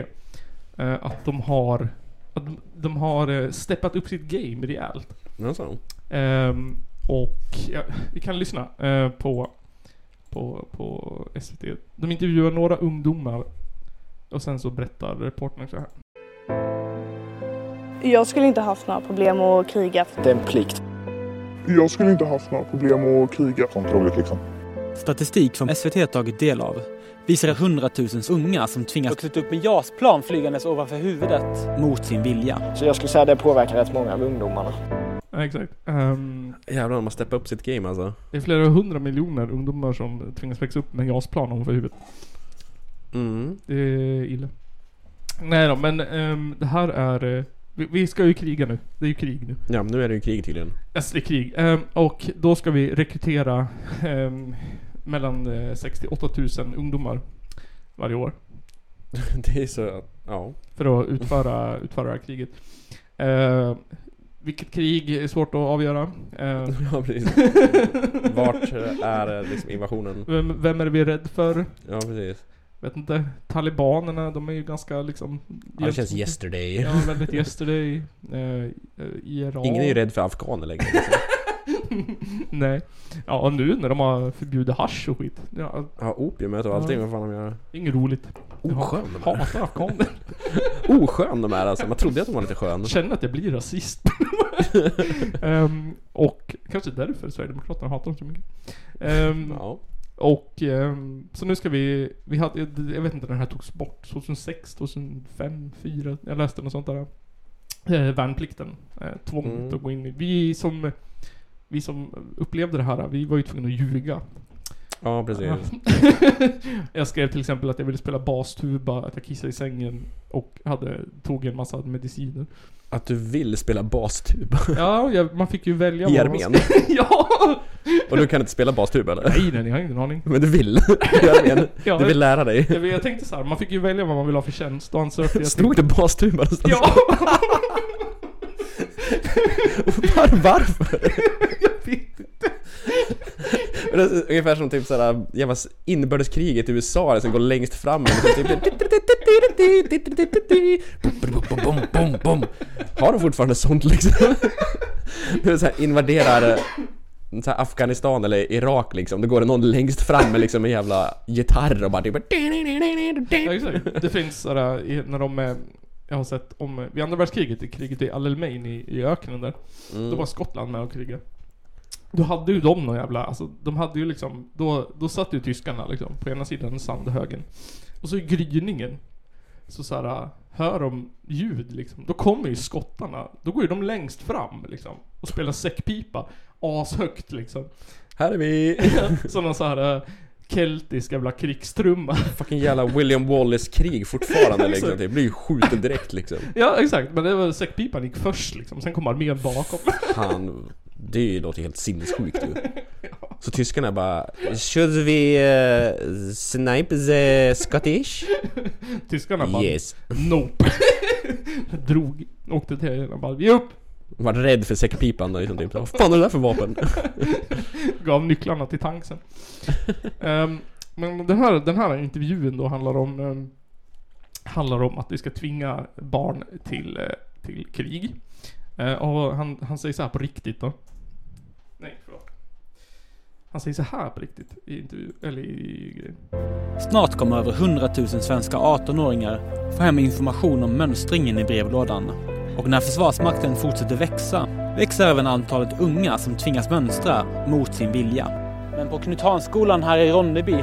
S1: eh, att de har att de, de har eh, steppat upp sitt game rejält.
S4: Ja, så.
S1: Ehm, och ja, vi kan lyssna eh, på, på, på SVT. De intervjuar några ungdomar och sen så berättar reportern så här.
S6: Jag skulle inte haft några problem att kriga.
S7: Det är en plikt.
S8: Jag skulle inte haft några problem att kriga.
S7: Otroligt liksom.
S9: Statistik som SVT tagit del av visar att 100 000 unga som tvingas
S10: vuxit upp med JAS-plan flygandes ovanför huvudet.
S9: mot sin vilja.
S7: Så jag skulle säga att det påverkar rätt många av ungdomarna.
S1: Ja, exakt. Ehm,
S4: Jävlar, de har steppat upp sitt game alltså.
S1: det är flera hundra miljoner ungdomar som tvingas växa upp med JAS-plan ovanför huvudet.
S4: Mm.
S1: Det är illa. Nej då, men ehm, det här är... eh, vi, vi ska ju kriga nu. Det är ju krig nu.
S4: Ja, men nu är det ju krig tydligen.
S1: Alltså det är krig. Ehm, och då ska vi rekrytera ehm, mellan uh, 68 000 ungdomar varje år.
S4: <laughs> Det är så att, ja.
S1: För att utföra, utföra det här kriget. Ehm, vilket krig är svårt att avgöra. Ehm,
S4: Ja, precis. Vart är eh, liksom invasionen?
S1: vem, vem är vi rädd för?
S4: Ja, precis.
S1: Vet inte. Talibanerna, de är ju ganska liksom...
S4: Ja, det känns yesterday.
S1: Ja, väldigt yesterday. Uh, IRA.
S4: Ingen är ju rädd för afghaner längre. Liksom.
S1: Nej. Ja, och nu när de har förbjudit hasch och skit. Ja,
S4: Ja, opiumet och allting. Vad fan de gör?
S1: det är inget roligt. Jag
S4: Oskön de är.
S1: hatar
S4: <laughs>
S1: afghaner.
S4: Oskön de är alltså. Man trodde att de var lite skön.
S1: Känner att jag blir
S4: <laughs>
S1: rasist. Ehm, och kanske därför Sverigedemokraterna hatar dem så mycket. Ehm,
S4: Ja.
S1: Och ehm, så nu ska vi, vi hade, jag vet inte när den här togs bort, 2006, 2005, 2004, jag läste något sånt där. Eh, värnplikten, eh, tvånget
S4: Mm.
S1: att gå in i. Vi som, vi som upplevde det här, vi var ju tvungna att ljuga
S4: ja, precis.
S1: <laughs> jag skrev till exempel att jag ville spela bastuba, att jag kissade i sängen och hade, tog en massa mediciner.
S4: Att du vill spela bastuba
S1: Ja, jag, man fick ju välja
S4: i
S1: vad man
S4: armén.
S1: skulle- <laughs> ja!
S4: Och du kan inte spela bastuba eller?
S1: Nej, nej, jag har ingen aning.
S4: Men du vill i armén.
S1: Ja,
S4: Du vill lära dig.
S1: jag, jag tänkte så här, man fick ju välja vad man ville ha för tjänst och ansökte jag till...
S4: Stod det bastuba någonstans? <laughs>
S1: Ja!
S4: Var, varför? Men det är ungefär som typ såhär jävla inbördeskriget i USA som går längst fram och liksom typ Bom, bom, bom. Har de fortfarande sånt liksom? När de så här invaderar eh, så här Afghanistan eller Irak liksom, då går det någon längst fram med liksom en jävla gitarr och bara typ
S1: ja exakt. Det finns sådär, i- när de är... jag har sett om, eh, vid andra världskriget, i kriget i Al-Alamein i, i öknen där. Då var
S4: Mm.
S1: Skottland med och krigade. Då hade ju de någon jävla, alltså de hade ju liksom, då, då satt ju tyskarna liksom på ena sidan sandhögen. Och så i gryningen, så så här, hör de ljud liksom. Då kommer ju skottarna, då går ju de längst fram liksom. Och spelar säckpipa, ashögt liksom.
S4: Här är vi!
S1: Som någon så här eh, keltisk jävla krigstrumma.
S4: Fucking jävla William Wallace krig fortfarande liksom.
S1: Exakt.
S4: Det blir ju skjuten direkt liksom.
S1: ja exakt, men det var säckpipan gick först liksom, sen kom armén bakom.
S4: Han, det låter helt sinnessjukt ju. Så tyskarna bara Should we eh, snipe the Scottish?
S1: <laughs> Tyskarna bara,
S4: Yes.
S1: nope. <laughs> Drog, åkte till och bara, ge upp!
S4: Var rädd för säckpipan då liksom typ. Vad fan är det där för vapen?
S1: gav nycklarna till tanksen. Ehm, men den här, den här intervjun då handlar om, ehm, handlar om att vi ska tvinga barn till, eh, till krig. Eh, och han, han säger så här på riktigt då. Nej, förlåt. Han säger så här på riktigt i intervjun, eller i grejen.
S9: Snart kommer över 100 000 svenska 18-åringar få hem information om mönstringen i brevlådan. Och när Försvarsmakten fortsätter växa, växer även antalet unga som tvingas mönstra mot sin vilja.
S10: Men på Knut Hahnsskolan här i Ronneby,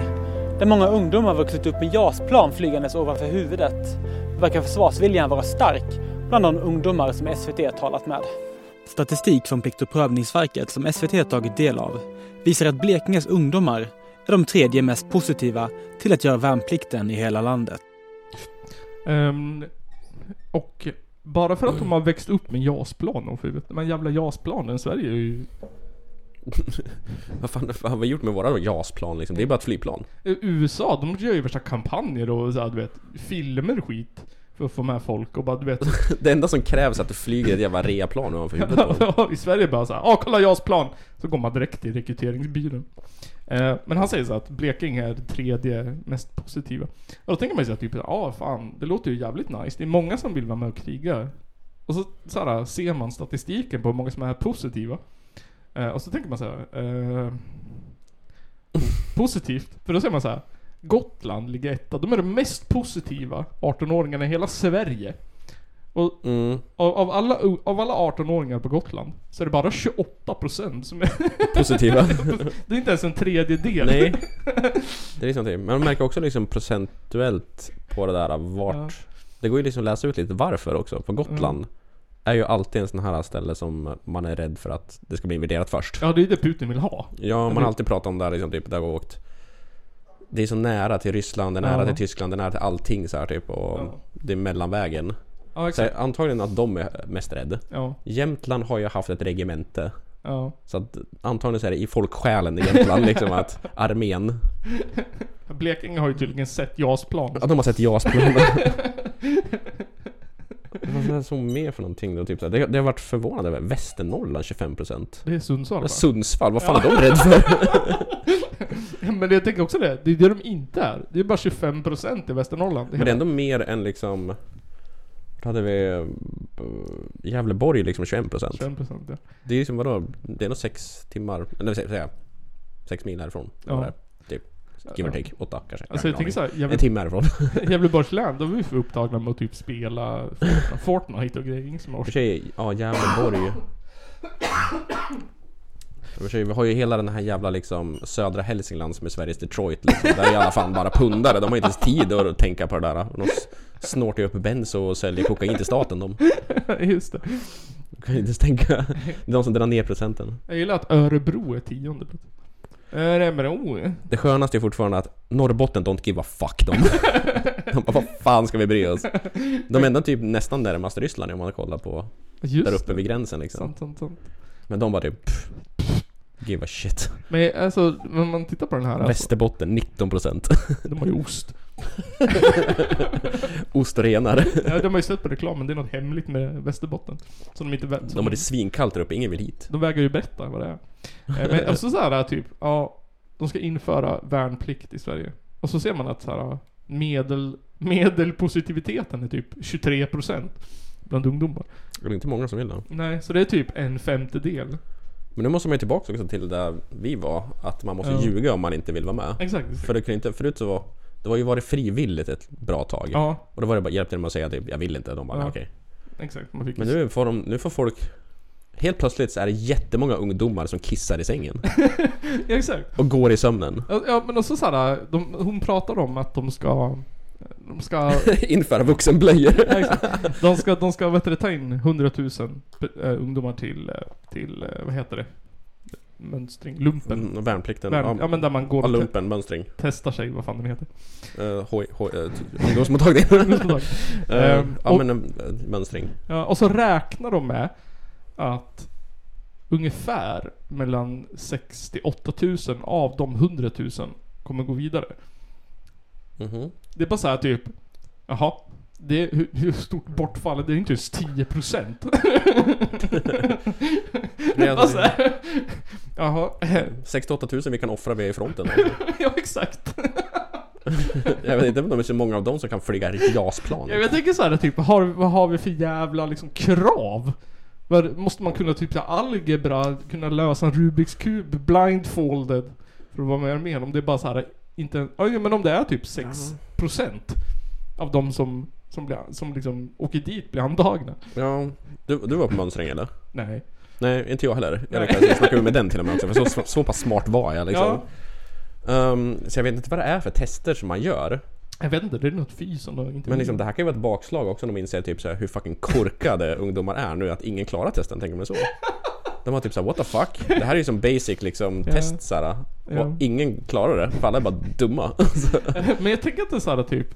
S10: där många ungdomar vuxit upp med JAS-plan flygandes ovanför huvudet, verkar försvarsviljan vara stark bland de ungdomar som SVT talat med.
S9: Statistik från Plikt och prövningsverket som SVT tagit del av visar att Blekinges ungdomar är de tredje mest positiva till att göra värnplikten i hela landet.
S1: Ehm, och bara för att de har växt upp med JAS-plan om huvudet. De här jävla JAS-planen, Sverige är ju
S4: Vad fan vad har vi gjort med våra JAS-plan liksom? Det är bara ett flygplan.
S1: Eh, USA, de gör ju värsta kampanjer och såhär, du vet, filmer och skit. För att få med folk och bara du vet.
S4: Det enda som krävs är att det flyger ett jävla reaplan ovanför huvudet på
S1: <laughs>
S4: dem.
S1: I Sverige bara såhär, ja kolla JAS plan! Så går man direkt till rekryteringsbyrån. Eh, men han säger så att Blekinge är det tredje mest positiva. Och då tänker man sig att typ, ja ah, fan, det låter ju jävligt nice. Det är många som vill vara med och kriga. Och så, så här, ser man statistiken på hur många som är positiva. Eh, och så tänker man så här. Eh, <laughs> positivt. För då säger man så här. Gotland ligger etta. De är de mest positiva 18-åringarna i hela Sverige. Och
S4: Mm.
S1: av, av, alla, av alla 18-åringar på Gotland så är det bara 28% som är... <laughs>
S4: Positiva.
S1: Det är inte ens en tredjedel.
S4: Nej. Det är liksom det. Men man märker också liksom procentuellt på det där vart...
S1: Ja. Mm.
S4: Det går ju liksom att läsa ut lite varför också. På Gotland är ju alltid en sån här ställe som man är rädd för att det ska bli värderat först.
S1: Ja, Mm. det är det Putin vill ha.
S4: Ja, man
S1: men-
S4: har alltid pratat om det här liksom, typ, där vi har åkt. Det är så nära till Ryssland, det är nära
S1: Ja.
S4: till Tyskland, det är nära till allting så här typ. Och
S1: Ja.
S4: det är mellanvägen.
S1: Ja,
S4: Så
S1: exakt.
S4: här, antagligen att de är mest rädda.
S1: Ja,
S4: Jämtland har ju haft ett regemente.
S1: ja.
S4: Så att antagligen så är det i folksjälen i
S1: <laughs>
S4: Jämtland liksom att armén,
S1: Blekinge har ju tydligen sett JAS-plan.
S4: att de har
S1: <laughs>
S4: sett JAS-planen. Vad är det som mer för någonting då? Typ så här, det, det har varit förvånande över. Västernorrland 25%.
S1: Det är Sundsvall va?
S4: Sundsvall, vad fan är de
S1: <laughs>
S4: rädda för?
S1: Men jag tänker också det, det är det de inte är. Det är bara 25% i Västernorrland.
S4: Men det är ändå mer än liksom... Då hade vi eh, Gävleborg liksom 21%.
S1: 25% ja.
S4: Det är ju som vadå? Det är nog 6 timmar, eller vad säger jag? 6 mil härifrån.
S1: Ja.
S4: Eller, typ. Give or
S1: Ja.
S4: take, 8 kanske.
S1: Alltså jag
S4: har
S1: tänker
S4: ingen
S1: såhär,
S4: aning. En
S1: Gävle,
S4: timme härifrån.
S1: Gävleborgs län, de är ju för upptagna med att typ spela Fortnite- Fortnite och grejer. Ingen som
S4: I och
S1: har
S4: för sig, ja Gävleborg. I och för sig, vi har ju hela den här jävla liksom södra Hälsingland som är Sveriges Detroit liksom. Där är i alla fall bara pundare, de har inte ens tid att tänka på det där. De s- snortar ju upp benzo och säljer kokain till staten de.
S1: <laughs> Just det.
S4: De kan ju inte ens tänka. Det är de som drar ner procenten.
S1: Jag gillar att Örebro är tionde plats. Örebro.
S4: Det skönaste är fortfarande att Norrbotten don't give a fuck dem. De bara, vad fan ska vi bry oss? De är ändå typ nästan närmast Ryssland om man kollar på där
S1: Just
S4: uppe vid gränsen liksom.
S1: Sant, sant, sant.
S4: Men de bara typ pff, give a shit.
S1: Men alltså, när man tittar på den här alltså,
S4: Västerbotten 19%.
S1: de har ju ost.
S4: <laughs> Ost och renar.
S1: Ja, de har ju sett på reklamen, det är något hemligt med Västerbotten. Som de inte vet.
S4: De har det svinkallt där uppe, ingen vill hit.
S1: De vägrar ju berätta vad det är. Eh, Men också så här typ, ja, de ska införa värnplikt i Sverige. Och så ser man att så här, medel, medelpositiviteten är typ 23% bland ungdomar.
S4: Det är inte många som vill det.
S1: Nej, så det är typ en femtedel.
S4: Men nu måste man ju tillbaka också till där vi var, att man måste
S1: Ja.
S4: ljuga om man inte vill vara med.
S1: Exakt.
S4: För det kunde inte, förut så var Det var ju varit frivilligt ett bra tag.
S1: Ja.
S4: Och då var det bara, hjälpte det med att säga att jag vill inte. De bara,
S1: Ja.
S4: ja. okej.
S1: Exakt, man fick
S4: Men nu får, de, nu får folk... Helt plötsligt så är det jättemånga ungdomar som kissar i <laughs> sängen.
S1: Ja, exakt.
S4: Och går i sömnen. <laughs>
S1: Ja, ja men också såhär, de, hon pratar om att de ska... De ska...
S4: Införa vuxenblöjor. <laughs>
S1: ja, exakt. de ska, de ska vet du, ta in 100 000 pe- eh, ungdomar till, eh, till, eh, vad heter det? Mönstring? Lumpen?
S4: Mm, och värnplikten.
S1: Värn- ja, men där man går
S4: Ja,
S1: och te-
S4: lumpen, mönstring.
S1: testar sig, vad fan den heter. <laughs>
S4: Uh, hoj, hoj, eh, <laughs> ty- ungdomsmottagning. Eh,
S1: Ehm,
S4: ja
S1: och-
S4: men eh, mönstring.
S1: Ja, och så räknar de med att ungefär mellan 68 000 av de 100 000 kommer gå vidare.
S4: Mhm.
S1: Det är bara så här typ, jaha. Det, hur, hur stort bortfall är det? Det är inte just 10%. <laughs> det är bara
S4: alltså
S1: så här, Jaha.
S4: 68 000 vi kan offra vi är
S1: <laughs>
S4: i fronten.
S1: Ja, exakt.
S4: jag vet inte om det är så många av dem som kan flyga i JAS-plan.
S1: Ja, men Jag tänker så här typ, har, vad har vi för jävla liksom krav? Vad- Måste man kunna typ så här, algebra, kunna lösa en Rubiks kub blindfolded? För att vara med i armén. Om det är bara så här, inte, ja ja, men om det är typ 6% av de som, som, blir, som liksom åker dit blir antagna.
S4: Ja, du, du var på mönstring eller?
S1: Nej.
S4: Nej, inte jag heller. Jag
S1: Nej.
S4: lyckades snacka med den till och med också, för så, så pass smart var jag liksom.
S1: Ja.
S4: Ehm, så jag vet inte vad det är för tester som man gör.
S1: Jag vet inte, det är något fy som de inte
S4: Men liksom, det här kan ju vara ett bakslag också om de inser typ så här, hur fucking korkade <laughs> ungdomar är nu att ingen klarar testen, tänker man så? De har typ såhär what the fuck? Det här är ju som basic liksom
S1: Ja.
S4: test såhär. Och
S1: Ja.
S4: ingen klarar det, för alla är bara dumma. Så, det
S1: <laughs> Men jag tänker att det är såhär typ,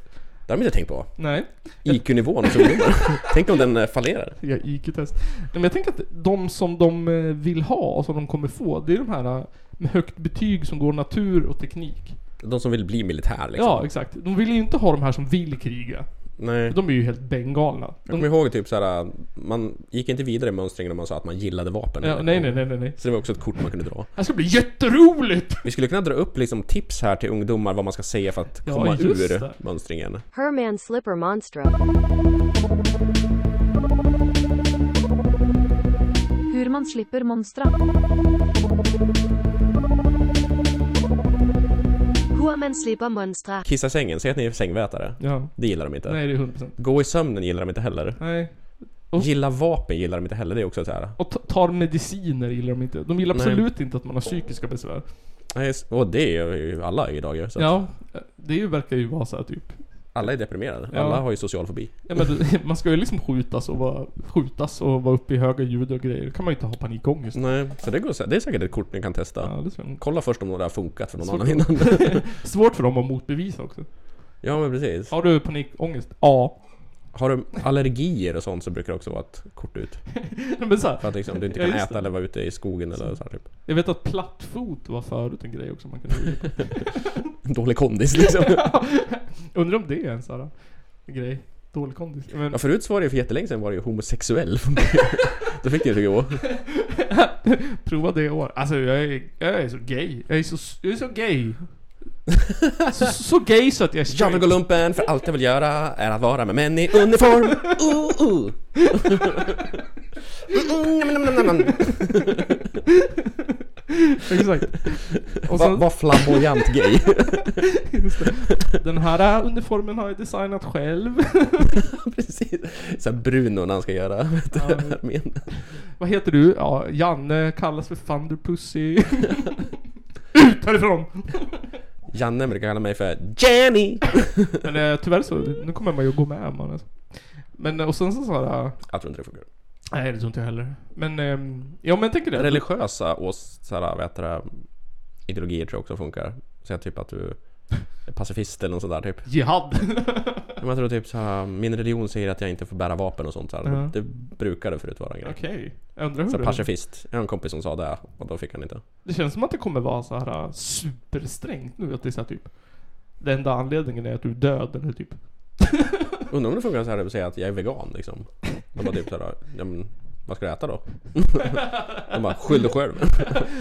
S4: har de inte tänkt på.
S1: nej.
S4: IQ-nivån
S1: <laughs>
S4: hos ungdomar. Tänk om den eh, fallerar.
S1: Jag IQ-test. Nej, Men jag tänker att de som de eh, vill ha och som de kommer få, det är de här eh, med högt betyg som går natur och teknik.
S4: De som vill bli militär liksom.
S1: Ja, exakt. De vill ju inte ha de här som vill kriga.
S4: Nej.
S1: De är ju helt bengalna.
S4: Jag
S1: De,
S4: kommer ihåg typ såhär, man gick inte vidare i mönstringen om man sa att man gillade vapen.
S1: ja,
S4: eller-
S1: nej, nej, nej, nej, nej.
S4: Så det var också ett kort man kunde dra.
S1: Det här ska bli jätteroligt!
S4: Vi skulle kunna dra upp liksom tips här till ungdomar vad man ska säga för att
S1: Ja,
S4: komma
S1: just
S4: ur
S1: det.
S4: mönstringen.
S11: Herman Slipper Monstro.
S12: Hur man slipper monstra.
S11: Hur man slipper monstra.
S4: Kissa i sängen, säg att ni är sängvätare.
S1: Ja.
S4: Det gillar de inte.
S1: Nej, det är 100%.
S4: Gå i sömnen gillar de inte heller.
S1: Nej.
S4: Gilla vapen gillar de inte heller, det är också så här.
S1: Och ta- tar mediciner gillar de inte. De gillar
S4: Nej.
S1: absolut inte att man har psykiska besvär.
S4: Nej, s- Och det är ju alla idag ju. Så att
S1: Ja, det ju- verkar ju vara så här typ.
S4: Alla är deprimerade.
S1: Ja.
S4: Alla har ju social fobi.
S1: Ja, men det- <laughs> man ska ju liksom skjutas och vara, skjutas och vara uppe i höga ljud och grejer. Då kan man ju inte ha panikångest.
S4: Nej, så det, går, sä- det är säkert ett kort ni kan testa.
S1: Ja, det tror jag.
S4: Kolla först om det har funkat för någon
S1: Svårt.
S4: annan innan.
S1: Svårt för dem att motbevisa också.
S4: ja men precis.
S1: Har du panikångest? Ja. <laughs>
S4: Har du allergier och sånt så brukar det också vara ett kort ut.
S1: Men så här,
S4: För att liksom, du inte
S1: Ja,
S4: kan
S1: just
S4: äta
S1: det.
S4: eller vara ute i skogen eller så här, typ.
S1: jag vet att plattfot var förut en grej också man kunde <laughs> göra.
S4: Dålig
S1: <laughs>
S4: kondis liksom.
S1: Undrar om det är en sån här grej. Dålig kondis. Men,
S4: Ja, förut så var det ju för jättelänge sedan var det ju homosexuell.
S1: <laughs>
S4: Då fick ni inte gå.
S1: prova det i år. Alltså jag är, jag är så gay. Jag är så, jag är så gay. <laughs> så, så gay så att jag är
S4: Jag
S1: straight.
S4: vill gå lumpen för allt jag vill göra är att vara med män i uniform. Uh, uh.
S1: <laughs>
S4: Mm, nam, nam, nam, nam.
S1: <laughs> Exakt. Och
S4: Var
S1: sen,
S4: var flamboyant gay.
S1: den här uniformen har jag designat själv.
S4: <laughs>
S1: <laughs>
S4: Precis. Så här Bruno när han ska göra vet du,
S1: Ja.
S4: armén.
S1: Vad heter du? Ja, Janne kallas för <laughs> Thunderpussy. Ut härifrån!
S4: Janne brukar kalla mig för Jenny.
S1: Men eh, tyvärr så, nu kommer man ju att gå med man alltså. Men eh, och sen så såhär...
S4: Jag tror inte det funkar.
S1: Nej det tror inte jag heller. Men, ehm, ja men jag tänker det.
S4: Religiösa och så här, vet du, det, ideologier tror jag också funkar. Så jag typ att du är pacifist eller något sånt där typ.
S1: Jihad.
S4: Men jag tror typ så här, min religion säger att jag inte får bära vapen och sånt så här.
S1: Ja.
S4: Det brukade förut vara en grej.
S1: <laughs> Okej. Jag undrar hur
S4: Så
S1: det...
S4: pacifist. Jag har en kompis som sa det och då fick han inte.
S1: Det känns som att det kommer vara så här eh, supersträngt nu. Att det är så här, typ... Den enda anledningen är att du är död eller <laughs> typ.
S4: Undrar om det funkar så här att säga att jag är vegan liksom. De bara typ så här, ja, men, vad ska du äta då? <laughs> De bara, skyll dig själv.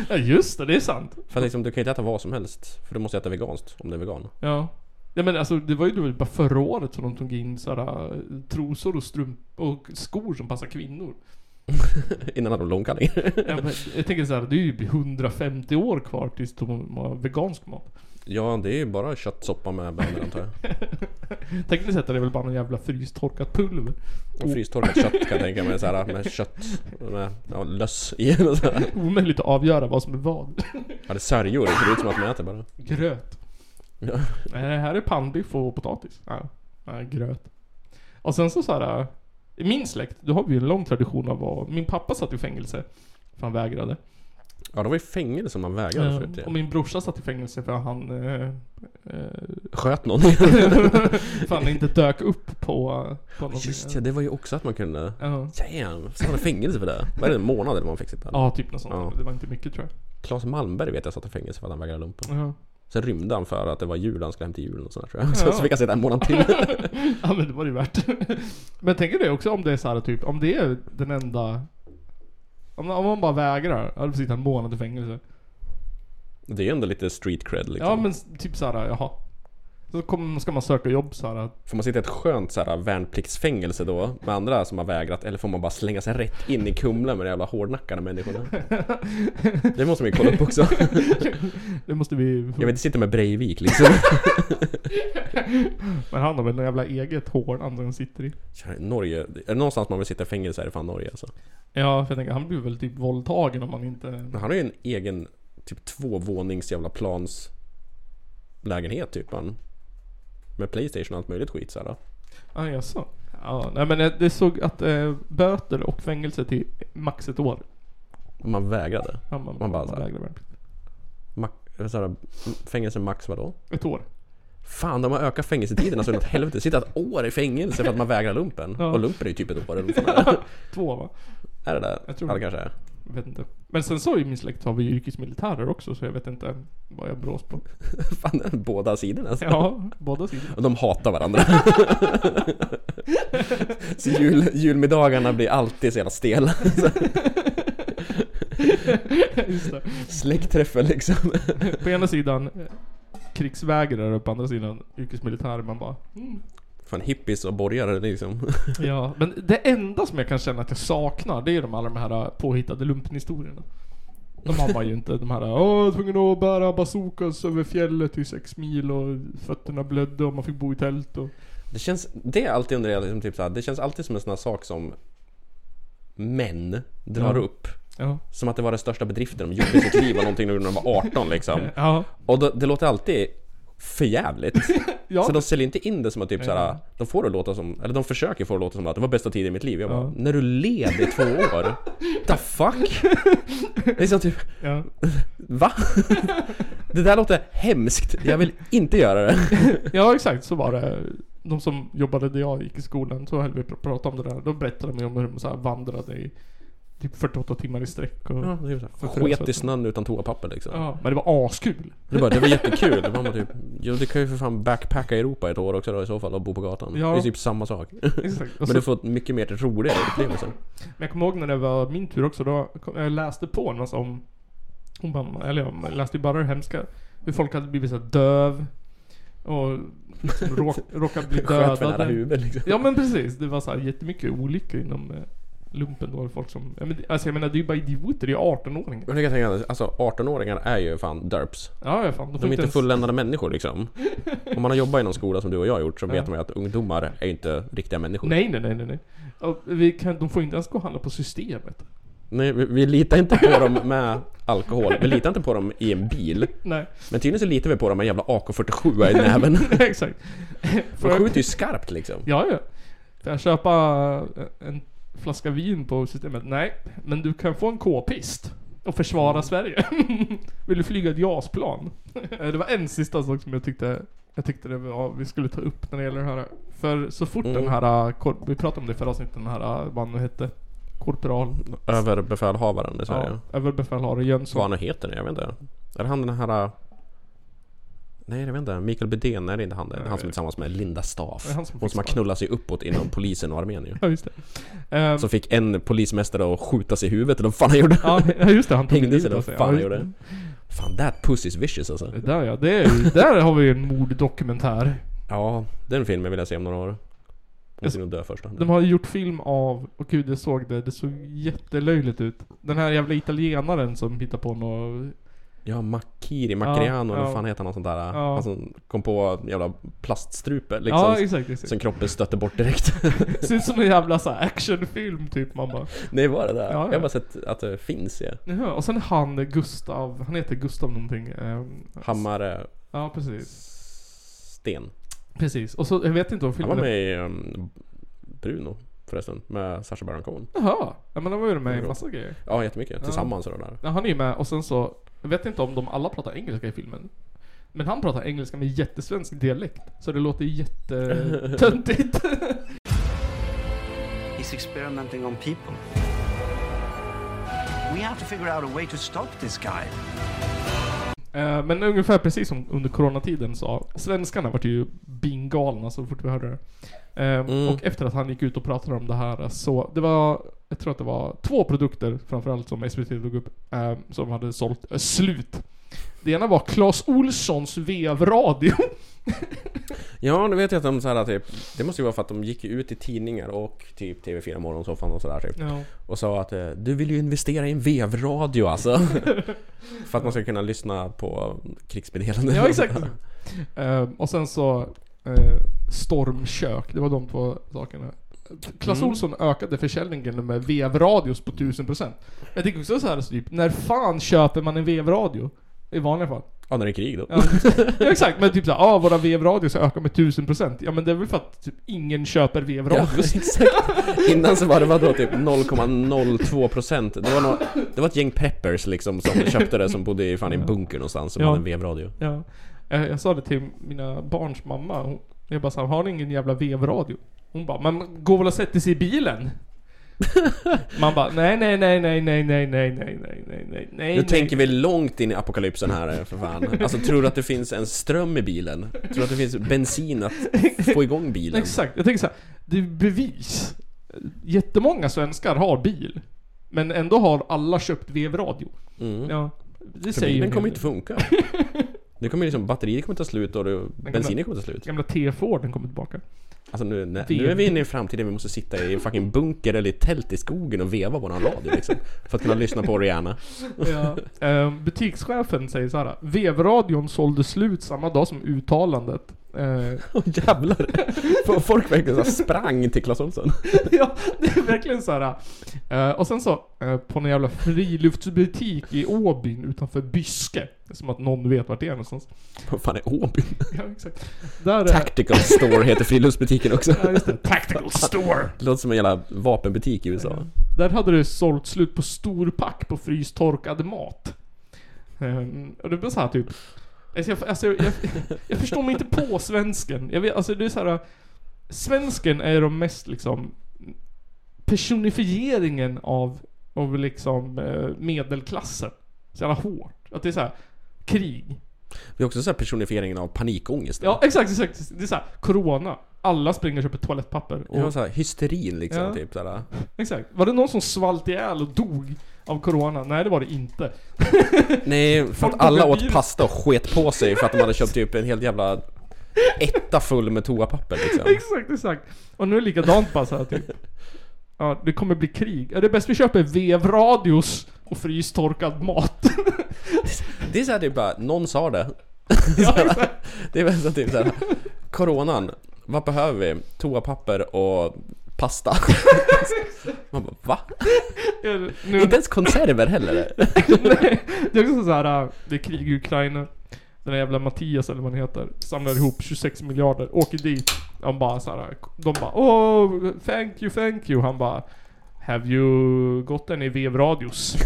S1: Ja just det, det är sant.
S4: För att liksom, du kan ju inte äta vad som helst. För du måste äta veganskt om du är vegan.
S1: Ja. Ja men alltså det var ju då bara förra året som de tog in så här, eh, trosor och strump och skor som passar kvinnor.
S4: Innan hade de långkallingar. <laughs>
S1: Ja, men jag tänker så här, det är ju 150 år kvar tills de har vegansk mat. <laughs>
S4: Ja, det är ju bara köttsoppa med bönor antar jag.
S1: Tekniskt sett är det väl bara någon jävla frystorkat pulver.
S4: Och
S1: Mm.
S4: frystorkat kött kan jag tänka mig. Så här, med kött, med ja, löss i. <laughs> och så här.
S1: Omöjligt att avgöra vad som är vad.
S4: Ja, det är sörjor. Det ser ut som att man äter bara.
S1: Gröt.
S4: Ja.
S1: Nej, det här är pannbiff och potatis. Ja. Nej, gröt. Och sen så så här. I min släkt, då har vi ju en lång tradition av vad... Min pappa satt i fängelse. För han vägrade.
S4: Ja, det var ju fängelse man vägrade
S1: Eh,
S4: förut.
S1: och
S4: Ja.
S1: min brorsa satt i fängelse för han... Eh, eh, <laughs>
S4: Sköt någon. <laughs>
S1: för han inte dök upp på... på någonting.
S4: Just ja, det var ju också att man kunde...
S1: Ja.
S4: Damn! Satt han i fängelse för det? Var det en månad eller vad man fick sitta?
S1: Ja, typ något sånt.
S4: Ja.
S1: Det var inte mycket tror jag.
S4: Claes Malmberg vet jag satt i fängelse för att han vägrade lumpen.
S1: Ja.
S4: Sen rymde han för att det var jul, han skulle hem till julen och sådär tror jag. <laughs> Så,
S1: Ja.
S4: så fick han sitta en månad till. <laughs>
S1: ja men det var det ju värt. <laughs> men tänker du också om det är så här typ, om det är den enda... Om, om man bara vägrar, ja då får sitta en månad i fängelse.
S4: Det är ju ändå lite street cred liksom.
S1: Ja men s- typ så här, jaha. Så kommer, ska man söka jobb så här. att-
S4: Får man sitta i ett skönt så här, värnpliktsfängelse då med andra som har vägrat eller får man bara slänga sig rätt in i Kumla med de jävla hårdnackade människorna? Det måste man ju kolla upp också. <laughs>
S1: Det måste vi...
S4: Jag vill inte sitta med Breivik liksom.
S1: Men han har väl något jävla eget hål han som sitter i.
S4: Kör, Norge, är det någonstans man vill sitta i fängelse är det fan Norge alltså.
S1: Ja för jag tänker han blir väl typ våldtagen om han inte...
S4: Men han har ju en egen typ tvåvånings jävla plans lägenhet typ han. Med Playstation och allt möjligt skit såhär.
S1: Ah, jaså? Ja, nej men eh, det såg att eh, böter och fängelse till max ett år.
S4: Man vägrade.
S1: Han bara,
S4: Man bara
S1: man
S4: så här-
S1: vägrar värnplikt.
S4: Mac- så här, fängelse max vadå?
S1: Ett år.
S4: Fan, de har ökat fängelsetiderna så inåt helvete. Sitta ett år i fängelse för att man vägrar lumpen.
S1: Ja.
S4: Och lumpen är ju typ ett år. eller vad fan är det?
S1: Två va?
S4: Är det där?
S1: Jag tror
S4: ja, det
S1: det.
S4: kanske är.
S1: Jag vet inte. Men sen så i min släkt har vi ju yrkesmilitärer också så jag vet inte vad jag brås på.
S4: Fan, det är båda sidorna
S1: <laughs>
S4: alltså.
S1: Ja, båda sidor.
S4: Och de hatar varandra. så jul, julmiddagarna blir alltid så jävla stela.
S1: <laughs> Just det.
S4: Släktträffen liksom.
S1: På ena sidan eh, krigsvägrare och på andra sidan yrkesmilitärer. Man <laughs> bara mm.
S4: Fan, hippies och borgare liksom.
S1: Ja, men det enda som jag kan känna att jag saknar det är de alla de här eh, påhittade lumpenhistorierna. De har man ju inte. De här Åh, jag var tvungen att bära bazookas över fjället i sex mil och fötterna blödde och man fick bo i tält och...
S4: Det känns, det är alltid under det, liksom, typ så här, det känns alltid som en sån här sak som män drar
S1: Ja.
S4: upp.
S1: Ja.
S4: Som att det var den största bedriften de gjorde i sitt liv, var någonting när de var 18 liksom.
S1: Ja.
S4: Och då, det låter alltid förjävligt.
S1: <laughs> Ja.
S4: Så de säljer inte in det som att typ såhär,
S1: Nej.
S4: de får det att låta som, eller de försöker få det att låta som att det var bästa tiden i mitt liv. Jag bara,
S1: Ja.
S4: när du led i
S1: <laughs>
S4: två år? The fuck? Det är som typ,
S1: Ja.
S4: va? Det där låter hemskt, jag vill inte göra det.
S1: Ja exakt, så var det. De som jobbade där jag gick i skolan, så höll vi på att prata om det där. Då berättade de ju om hur de så här vandrade i typ 48 timmar i sträck. Och,
S4: Ja,
S1: ja.
S4: det är så här,
S1: Förfrös-
S4: Sket i snön utan toapapper liksom.
S1: men det var askul.
S4: Det, bara, det var jättekul. Det var man typ, ja, du kan ju för fan backpacka i Europa ett år också då i så fall och bo på gatan.
S1: Ja.
S4: Det är typ samma sak. <laughs>
S1: Exakt. Och
S4: Men
S1: så,
S4: du får ett mycket mer roligare liksom. upplevelse.
S1: Men jag kommer ihåg när det var min tur också, då kom, jag läste på en massa om, om mamma, eller jag läste ju bara det hemska. Hur folk hade blivit så här döv. Och liksom råk,
S4: <laughs>
S1: råkat bli
S4: Sköt för nära
S1: dödade.
S4: huvudet liksom.
S1: Ja men precis, det var så här jättemycket olyckor inom eh, lumpen då. Folk som, ja, men, det- alltså jag menar det är ju bara idioter, det är 18-åringar.
S4: Men det kan jag tänka, alltså 18-åringar är ju fan derps.
S1: Ja, ja fan. får
S4: De är inte
S1: ens-
S4: fulländade människor liksom. Om man har jobbat i någon skola som du och jag har gjort så vet
S1: Ja.
S4: man ju att ungdomar är ju inte riktiga människor.
S1: Nej, nej, nej, nej, nej. Och Vi kan, de får inte ens gå och handla på systemet.
S4: Nej, vi, vi litar inte på dem med alkohol. Vi litar inte på dem i en bil.
S1: Nej, <laughs>
S4: Men tydligen så litar vi på dem med en jävla AK47 i näven.
S1: exakt.
S4: De
S1: Får jag,
S4: skjuter ju skarpt liksom.
S1: ja, ja. Får jag köpa eh, en flaska vin på systemet? Nej, men du kan få en k-pist. Och försvara
S4: Mm.
S1: Sverige. <laughs> Vill du flyga ett JAS-plan? <laughs> Eh, det var en sista sak som jag tyckte jag tyckte det var, vi skulle ta upp när det gäller det här. För så fort
S4: Mm.
S1: den här, eh, kor- vi pratade om det i förra avsnittet, den här, eh, vad han nu hette, korpral,
S4: Överbefälhavaren i Sverige.
S1: ja, överbefälhavare Jönsson.
S4: Vad han nu heter, jag vet inte. Är det han den här... äh, Nej, jag vet inte. Mikael Bydén, är det inte han det? Det är Han som är tillsammans med Linda Staaf.
S1: Det är han som
S4: Hon som har
S1: fick sparken.
S4: knullat sig uppåt inom polisen och armén ju.
S1: Ja, just det. Ehm,
S4: Som fick en polismästare att skjuta sig i huvudet eller vad fan han gjorde.
S1: Ja, ja, just det. Han tog
S4: <laughs> Hängde sig
S1: livet
S4: då,
S1: av sig.
S4: fan
S1: Ja,
S4: han
S1: just
S4: gjorde. Fan that pussy's vicious alltså.
S1: det. Där ja, det är,
S4: <laughs>
S1: ju- där har vi ju en morddokumentär.
S4: Ja, den filmen vill jag se om några år. Hon ska nog dö först.
S1: De har ju gjort film av, och gud jag såg det, det såg jättelöjligt ut. Den här jävla italienaren som hittar på något
S4: Ja, Makiri,
S1: Ja,
S4: Makriano, eller
S1: ja.
S4: vad fan heter han? Sånt där.
S1: Ja.
S4: Han som kom på en jävla plaststrupe liksom.
S1: Ja, exakt, exakt.
S4: Som kroppen stötte bort direkt. <laughs>
S1: Ser ut som en jävla så här actionfilm typ man bara.
S4: Nej, var det där?
S1: Ja, ja.
S4: Jag har bara sett att det finns ju.
S1: Jaha, och sen han eh, Gustav, han heter Gustav någonting. ehm,
S4: Hammare
S1: Ja, precis.
S4: eh, Sten.
S1: Precis. Och så, jag vet inte om
S4: Han
S1: filmen...
S4: var med i um, Bruno förresten, med Sacha Baron Cohen.
S1: Jaha, ja, men han var ju med i massa grejer.
S4: Ja, jättemycket. Tillsammans
S1: ja.
S4: och det där.
S1: Ja, han är ju med och sen så, jag vet inte om de alla pratar engelska i filmen. Men han pratar engelska med jättesvensk dialekt. Så det låter jättetöntigt.
S13: He's experimenting on people. We have to figure out a way to stop this guy.
S1: Eh, Men ungefär precis som under coronatiden sa, svenskarna vart ju bingalna så fort vi hörde det. Ehm, Och efter att han gick ut och pratade om det här så, det var, jag tror att det var två produkter framförallt som SVT tog upp, ehm, som hade sålt eh, slut. Det ena var Clas Olssons vevradio.
S4: Ja, nu vet jag att de så här, typ, det måste ju vara för att de gick ju ut i tidningar och typ TV4 Morgonsoffan och sådär typ.
S1: Ja.
S4: Och sa att eh, du vill ju investera i en
S1: <laughs>
S4: vevradio alltså. för att man ska kunna lyssna på krigsmeddelanden.
S1: Ja, exakt. Ehm, och sen så eh, Stormkök, det var de två sakerna. Clas
S4: Mm.
S1: Olsson ökade försäljningen med vevradios på 1000%. Jag tycker också så här typ, när fan köper man en vevradio? I vanliga fall.
S4: ja, när det är krig då.
S1: Ja, ja exakt, men typ såhär, ah, våra vevradios ökar med 1000%. Ja men det är väl för att typ ingen köper vevradios.
S4: <laughs> Ja, exakt. Innan så var det vadå typ 0,02% det var, nå det var ett gäng preppers liksom som köpte det som bodde i fan i en bunker någonstans som
S1: Ja.
S4: hade en vevradio.
S1: Ja. Eh, Jag sa det till mina barns mamma. Hon, jag bara såhär, har ni ingen jävla vevradio? Hon bara, men gå väl och sätter sig i
S4: <laughs>
S1: bilen? Man bara, nej nej nej nej nej nej nej nej nej nej nej nej
S4: nu tänker vi långt in i apokalypsen här eh, för fan. Alltså tror du att det finns en ström i bilen? Tror du att det finns bensin att få igång bilen?
S1: Exakt, jag tänker såhär, det är bevis. Jättemånga svenskar har bil. Men ändå har alla köpt vevradio.
S4: Mm.
S1: Ja, det
S4: För
S1: säger ju en
S4: bilen
S1: hel
S4: kommer
S1: del.
S4: inte
S1: <laughs>
S4: funka. Det kommer liksom, batteriet kommer ta slut och det,
S1: gamla-
S4: bensinen kommer ta slut.
S1: Gamla T-Forden kommer tillbaka.
S4: Alltså nu, nej,
S1: Vev.
S4: nu är vi inne i framtiden, vi måste sitta i en fucking bunker eller i tält i skogen och veva våran radio liksom. För att kunna lyssna
S1: <laughs>
S4: på Rihanna.
S1: Ja. Ehm, butikschefen säger så här. Vevradion sålde slut samma dag som uttalandet. Uh,
S4: jävlar! F- Folk verkligen så här sprang till Clas Ohlson.
S1: <laughs> ja, det är verkligen så här. eh, och sen så, eh, på någon jävla friluftsbutik i Åbyn utanför Byske. Som att någon vet vart det är någonstans. <laughs>
S4: Vad fan är Åbyn?
S1: Ja, exakt. Där är... <laughs>
S4: Tactical Store heter friluftsbutiken också.
S1: Ja, just det. Tactical Store.
S4: Det låter som en jävla vapenbutik i USA.
S1: Där hade det sålt slut på storpack på frystorkad mat. Ehm, och det blir så här typ... Alltså jag, alltså jag, jag, jag förstår mig inte på svensken. Jag vet, alltså det är så här, Svensken är de mest liksom... Personifieringen av, av liksom eh, medelklassen. Så jävla hårt. Att det är så här, krig.
S4: Vi har också så här personifieringen av panikångest.
S1: Ja, exakt, exakt. Det är så här, corona. Alla springer och köper toalettpapper.
S4: Det var så här hysterin liksom,
S1: Ja.
S4: typ såhär.
S1: Exakt. Var det någon som svalt ihjäl och dog av corona? Nej, det var det inte.
S4: Nej, för
S1: Folk
S4: att alla
S1: tog en
S4: åt
S1: bil.
S4: pasta och sket på sig för att de hade köpt typ en hel jävla etta full med toapapper liksom.
S1: <laughs> Exakt, exakt. Och nu är det likadant bara så här
S4: <laughs>
S1: typ. Ja, det kommer bli krig. Ja, det är bäst vi köper vevradios och frystorkad mat. <laughs>
S4: Det är såhär typ bara, någon sa det. <laughs> Såhär, det är väl så typ såhär, coronan, vad behöver vi? Toapapper och
S1: <laughs>
S4: pasta. Man bara, va?
S1: Ja, nu-
S4: Inte ens konserver heller.
S1: Det är också så här, äh, det är krig i Ukraina. Den där jävla Mattias eller vad han heter, samlar ihop 26 miljarder, åker dit. Han bara så här, de bara oh, thank you, thank you. Han bara Have you got any
S4: <laughs>
S1: vevradios?